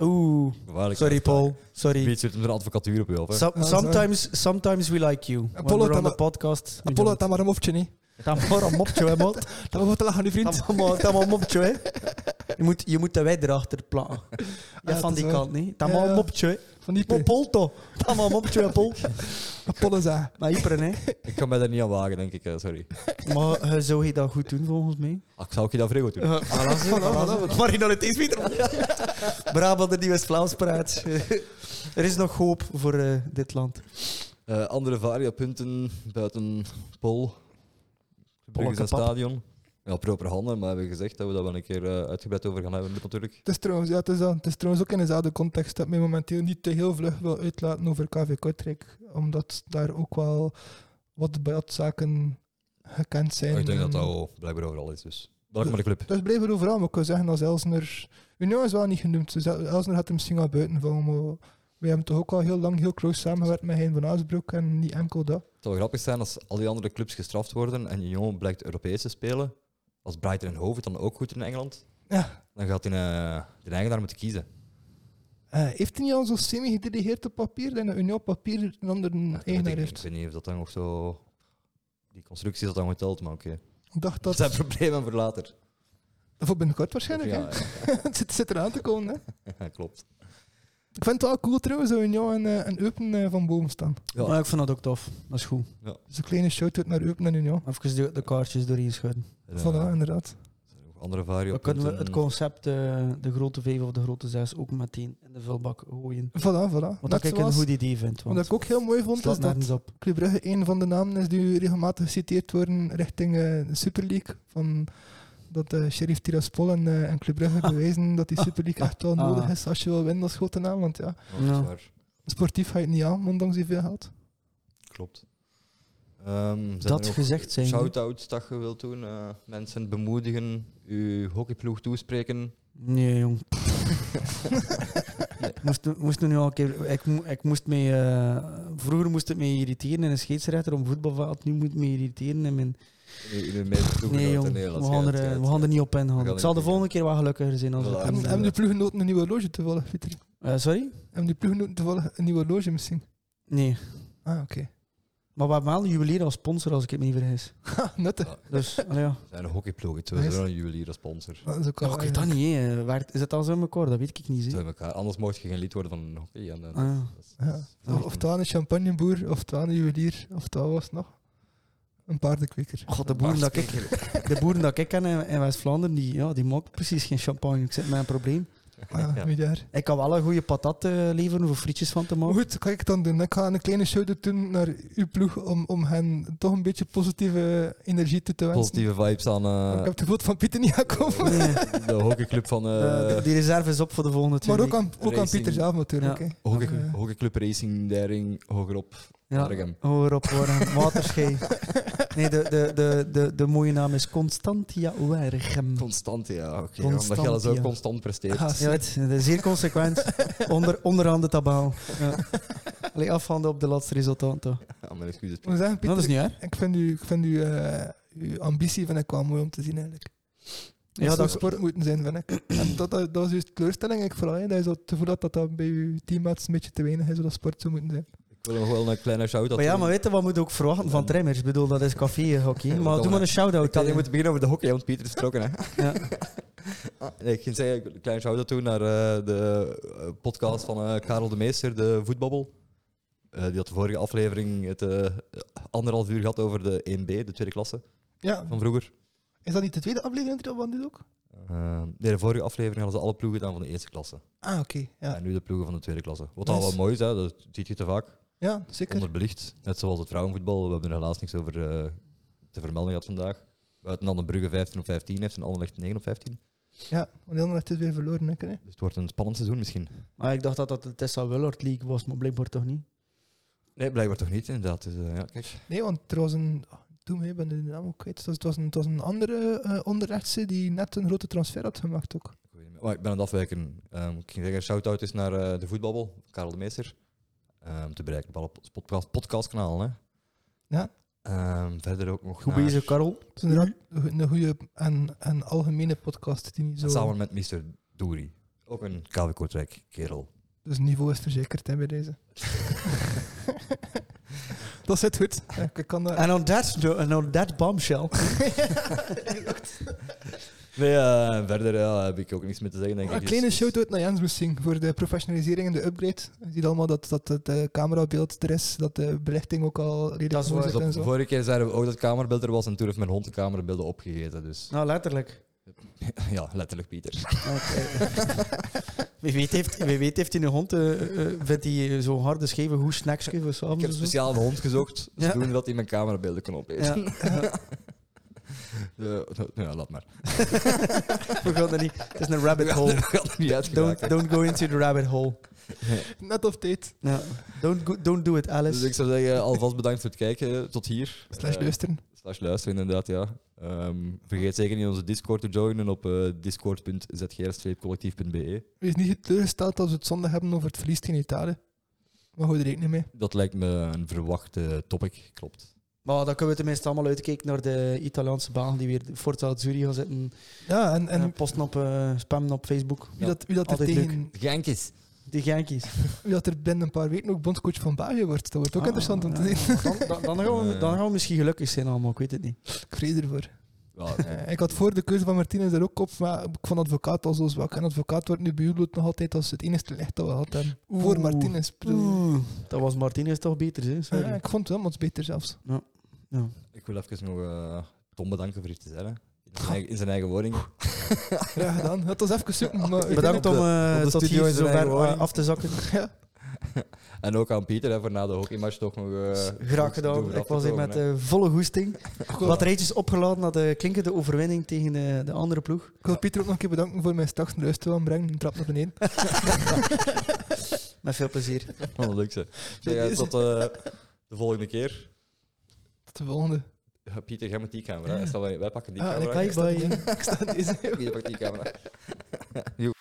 B: oeh.
A: Gevaarlijke
B: Sorry
A: uitspraak.
B: Paul, sorry.
A: Piet zit hem er advocatuur op je af. hè.
B: Som-
C: Ja,
B: sometimes, sometimes we like you. When
C: Apollo,
B: we're on
C: dan-
B: the podcast.
C: Apollo, dat maar een mopje, niet.
B: Dan maar een mopje, hè, man.
C: Dat maar voor te lachen, nu, vriend.
B: Dan maar- dan maar een mopje, hè. Je moet, je moet de wij erachter plakken.
C: Ja,
B: Ja,
C: het
B: van
C: is
B: die
C: waar.
B: kant, niet? Dan
C: Ja,
B: maar
C: ja.
B: een mopje, hè.
C: Van die
B: Maar
C: Apollo,
B: Pol toch? Dan maar een mopje, hè, Pol.
C: Apollo zei.
B: Maar Ypres, hè.
A: Ik kan mij daar niet aan wagen, denk ik. eh, Sorry.
B: Maar eh, zou je dat goed doen, volgens mij?
A: Ah, ik zou ook je dat vrij goed doen.
B: Uh,
C: Ah,
B: voilà, zo, voilà, zo. Marginaliteits weer. Brabant, de nieuwe Vlaams praat. er is nog hoop voor eh, dit land.
A: Eh, andere variapunten buiten Pol. Brugge is een
B: kapap.
A: stadion. Ja, proper handen, maar we hebben gezegd dat we daar wel een keer eh, uitgebreid over gaan hebben, natuurlijk.
C: Het is, trouwens, ja, het, is dat. het is trouwens ook in dezelfde context dat mij momenteel niet te heel vlug wil uitlaten over KV Kortrijk. Omdat daar ook wel wat bijatzaken gekend zijn.
A: Maar Oh, ik denk dat
C: En- ehm,
A: dat al blijkbaar overal is. Dus. Welkom maar de club.
C: Dus blijven overal, maar ik kan zeggen als Elsner. Union is wel niet genoemd, dus El- Elsner had hem misschien wel buiten vallen. Maar we hebben toch ook al heel lang heel close samengewerkt met Hein van Aasbroek en niet enkel dat.
A: Het zou wel grappig zijn als al die andere clubs gestraft worden en Union blijkt Europees te spelen. Als Brighton en Hove het dan ook goed in Engeland,
C: Ja.
A: dan gaat hij eh de eigenaar moeten kiezen.
C: Eh, heeft hij niet al zo semi-gedelegeerd op papier? En Union op papier een ander
A: ik,
C: eigenaar
A: denk-
C: heeft.
A: ik weet niet of dat dan nog zo... Die constructie is dat dan geteld, maar oké.
C: Ik dacht
A: Dat
C: dat.
A: zijn problemen voor later.
C: Voor binnenkort waarschijnlijk.
A: Of
C: hè? het zit, zit eraan te komen. Hè?
A: ja, klopt.
C: Ik vind het wel cool trouwens dat Union en, eh, en Eupen eh, van boven staan.
A: Ja.
B: Maar ik vond dat ook tof. Dat is goed.
C: Dus een kleine shout-out naar Eupen en Union.
B: Even de, de kaartjes doorheen schudden.
A: En, eh,
C: Voilà, inderdaad.
A: zijn er nog andere
B: Dan kunnen we het
A: variapunten.
B: concept, eh, de grote vijf of de grote zes, ook meteen in de vulbak gooien.
C: Voilà, voilà.
B: Wat
C: Net
B: dat ik een
C: zoals-
B: goed idee vind.
C: Wat
B: Want
C: ik ook heel mooi vond,
B: slaat
C: is dat
B: nergens op.
C: Club Brugge een van de namen is die regelmatig geciteerd worden richting eh, de Super League. Van dat eh Sheriff Tiraspol en, eh, en Club Brugge bewijzen dat die Super League echt wel
B: Ah.
C: nodig is als je wil winnen als grote naam. Want ja,
A: Ja, dat is
B: Ja.
A: waar.
C: sportief ga je het niet aan, ondanks die veel geld.
B: Ah,
A: Klopt. Ehm, zijn er
B: Dat
A: nog
B: gezegd zijn.
A: Shout-outs dat je wilt doen. eh, mensen bemoedigen, uw hockeyploeg toespreken.
B: Nee, jong. Ik moest, nu- moest nu nu al een keer, ik, mo- ik moest mij, eh, vroeger moest het mij irriteren in een scheidsrechter om voetbalveld. Nu moet het me irriteren in mijn...
A: In in de meeste ploegen
B: Nee,
A: uit
B: jong.
A: de Nederland.
B: we, gaan er, eh, we gaan er niet op
A: We
B: ingaan.
A: gaan
B: Ik zal
A: er
B: de
A: niet
B: volgende keer wel gelukkiger zijn. Als
A: Voilà.
B: het-
A: En-
C: Hebben, hebben de ploeggenoten een nieuwe horloge toevallig, Pieter?
B: Eh, sorry?
C: Hebben die ploeggenoten toevallig een nieuwe horloge misschien?
B: Nee.
C: Ah, oké.
B: Maar we hebben wel een juwelier als sponsor, als ik het me niet vergis.
C: Ha, nuttig.
B: Dus, allee, ja.
A: Er zijn hockeyploegen,
C: Nice.
A: terwijl zijn een jullie als sponsor.
C: Dat is ook wel
B: Ja, ik weet dat niet, hè. Waar- Is dat al zo in elkaar? Dat weet ik niet,
A: Ze
B: hè.
A: hebben elkaar. Anders mocht je geen lid worden van hockey. En, eh,
B: Ah, ja. Nou,
A: dat is-
C: Ja.
A: dat is-
C: eh, Of, oftewel een champagneboer, oftewel een juwelier, oftewel was het nog een paardenkweker.
B: God, de boeren dat ik, de boeren dat ik ken in, in West-Vlaanderen, die, ja, die maken precies geen champagne. Ik zit met een probleem.
C: Ah,
A: Ja.
C: weet je haar.
B: Ik kan wel een goede patat eh, leveren voor frietjes van te
C: Maar
B: maken.
C: goed, wat ga ik dan doen? Ik ga een kleine shout-out doen naar uw ploeg om, om hen toch een beetje positieve energie toe te wensen.
A: Positieve vibes aan eh,
C: Ik heb het gevoel van Pieter niet aankomen.
B: Nee,
A: de hockeyclub van... eh,
B: eh, die reserve is op voor de volgende twee
C: Maar ook aan, ook aan
A: Racing.
C: Pieter zelf natuurlijk.
B: Ja.
C: hè. eh,
A: hockey,
C: Ja.
A: hockeyclub Racing Dering, hogerop.
B: weken.
A: Bergen.
B: Ja, hoor op, hoor aan. Waterschei. Nee, de, de, de, de, de mooie naam is Constantia Wergem.
A: Constant, ja. oké
B: Constant,
A: omdat jij dat zo
B: ja.
A: constant presteert.
C: Ah,
B: Ja, het is zeer consequent. Onder, onderaan de tabel. Ja. Allee, afhanden op de laatste resultaten.
A: Ja, mijn excuses.
C: Ik moet zeggen,
B: Dat is
C: Pieter,
B: niet waar.
C: ik vind, u, ik vind uw, eh, uw ambitie vind ik wel mooi om te zien eigenlijk.
B: Ja,
C: Ja, dat
B: dat-
C: sport moeten zijn, vind ik. En dat, dat, dat is uw teleurstelling eigenlijk vooral. Hè. Dat je zo het gevoel had dat dat bij uw teammates een beetje te weinig is, zodat sport zou moeten zijn.
A: Ik wil nog wel een kleine shout-out
B: Maar ja,
A: doen.
B: maar weet je, wat moet je ook verwachten van trainers? Ik bedoel, dat is café, hockey.
A: Ja,
B: maar
A: dat
B: doe maar
A: wel.
B: een shout-out.
A: Ik kan niet
B: eh.
A: moeten beginnen over de hockey, want Pieter is vertrokken. Hè.
B: Ja.
A: Ah, nee, ik ging zeggen, ik wil een kleine shout-out doen naar eh, de eh, podcast van eh, Karel de Meester, de voetbabbel. Eh, die had de vorige aflevering het eh, anderhalf uur gehad over de 1B, de tweede klasse
C: Ja,
A: van vroeger.
C: is dat niet de tweede aflevering van dit ook?
A: Eh, nee, de vorige aflevering hadden ze alle ploegen gedaan van de eerste klasse.
C: Ah, oké. Ja.
A: En nu de ploegen van de tweede klasse. Wat
C: Nice.
A: al wel mooi is, hè, dat ziet je te vaak.
C: ja, zeker.
A: Onderbelicht. Net zoals het vrouwenvoetbal. We hebben er helaas niks over eh, te vermelden gehad vandaag. Buiten dan de Brugge 15 op 15 heeft en Anderlecht 9 op 15.
C: Ja, want heel is weer verloren. Hè. Kenneth?
A: Dus het wordt een spannend seizoen misschien.
B: Maar ik dacht dat dat de Tessa Willard League was, maar blijkbaar toch niet.
A: Nee, blijkbaar toch niet, inderdaad. Dus, eh, ja, kijk.
C: Nee, want er was een. ah, Toen mee, ik ben de naam ook kwijt. Het was, het was, een, het was een andere eh onderrechtse die net een grote transfer had gemaakt ook.
A: Ik weet niet meer. Maar ik ben aan het afwijken. Ehm, ik ging zeggen, shout-out is naar eh, de voetbabbel, Karel de Meester. Ehm, te bereiken op alle pod- podcast, podcastkanaal. Hè.
C: Ja.
A: Ehm, verder ook nog
B: Goed
A: naar-
B: bezig, Karel.
C: Het is inderdaad een goede en, en algemene podcast die niet zo.
A: en Samen met Mr. Doeri. Ook een KW Kortrijk kerel.
C: Dus het niveau is verzekerd hè, bij deze. dat zit goed. Eh, Ja, Ik kan daar.
B: En on that, no- and on that bombshell.
A: Nee, eh, en verder ja, heb ik ook niks meer te zeggen. Denk ik.
C: Een
A: Dus-
C: Ah, kleine
A: dus-
C: shout-out naar Jens misschien voor de professionalisering en de upgrade. Je ziet allemaal dat, dat het eh, camerabeeld er is, dat de belichting ook al redelijk
B: is
C: mooi
A: Dus
B: waar.
C: zit
A: op-
C: en zo.
A: vorige keer zeiden we ook dat kamerbeeld er was en toen heeft mijn hond de kamerbeelden opgegeten. Dus
B: Nou, letterlijk.
A: ja, letterlijk Pieter.
B: Wie weet heeft, wie weet heeft hij een hond, eh, eh, vindt hij zo'n harde scheve goed snacksje voor
A: Ik heb
B: s'avonds of zo?
A: speciaal een hond gezocht,
B: Ja.
A: zodat dat hij mijn camerabeelden kon opeten.
B: Ja. Ja.
A: Eh, nou ja, laat maar.
B: We gaan er niet. Het is een rabbit hole.
A: We gaan er niet uitgeraken.
B: Don't, don't go into the rabbit hole.
C: Net op tijd.
B: Ja. Don't, go- don't do it, Alice.
A: Dus ik zou zeggen, alvast bedankt voor het kijken. Tot hier.
C: Slash
A: Eh,
C: luisteren.
A: slash luisteren, inderdaad, ja. Ehm, vergeet zeker niet onze Discord te joinen op eh discord.zgr-collectief.be.
C: Wees niet teleurgesteld als we het zondag hebben over het verlies tegen Italië. Maar hou er rekening mee.
A: Dat lijkt me een verwachte topic, klopt.
B: Maar dan kunnen we tenminste allemaal uitkijken naar de Italiaanse baan die weer Forza Azzurri gaan zitten.
C: Ja, en, en
B: En posten op, eh, spammen op Facebook.
C: wie, dat, wie, dat er
B: altijd
C: tegen,
A: Genkjes.
B: Die geintjes.
C: wie dat er binnen een paar weken ook bondscoach van België wordt, dat wordt ook
B: Ah,
C: interessant om te
B: ja.
C: zien.
B: Dan, dan, dan gaan we, dan gaan we misschien gelukkig zijn allemaal, ik weet het niet.
C: Ik vrees ervoor.
A: Ja,
C: Eh, ik had voor de keuze van Martinez er ook op, maar ik vond advocaat al zo zwak. En advocaat wordt nu beïnvloed nog altijd als het enige licht dat we hadden.
B: Oeh.
C: Voor Martinez. ik bedoel.
B: Oeh, dat was Martinez toch beter, hè? Sorry.
C: Ja, ik vond het wel wat beter zelfs.
A: ik wil even nog eh, Tom bedanken voor iets te zeggen. In zijn eigen, in zijn eigen woning.
C: Ja, gedaan. Het was even zoeken, maar
B: Bedankt om eh,
A: op de
B: tot
A: studio
B: hier
A: in zijn
B: zo ver
A: eigen woning.
B: af te zakken.
C: Ja,
A: En ook aan Pieter hè, voor na de hockeymatch toch nog. eh,
B: Graag
A: goed doen
B: gedaan.
A: voor
B: Ik was hier
A: afgekomen,
B: met
A: hè.
B: eh, volle goesting.
C: Cool.
B: Batterijtjes opgeladen na de klinkende overwinning tegen eh, de andere ploeg.
C: ik wil Pieter ook nog een keer bedanken voor mij straks naar huis te willen brengen. Een trap naar beneden.
B: Met veel plezier.
A: Van de leukste. Zeg, eh, tot eh, de volgende keer.
C: Tot de volgende.
A: Ja, Pieter, jij met die camera. hè. Stel, wij wij pakken die
C: Ah, en ik
A: camera.
C: ga
A: Jij
C: je
A: staat
C: bij.
A: hier.
C: Ik sta deze.
A: Pieter pakt die camera. Joe.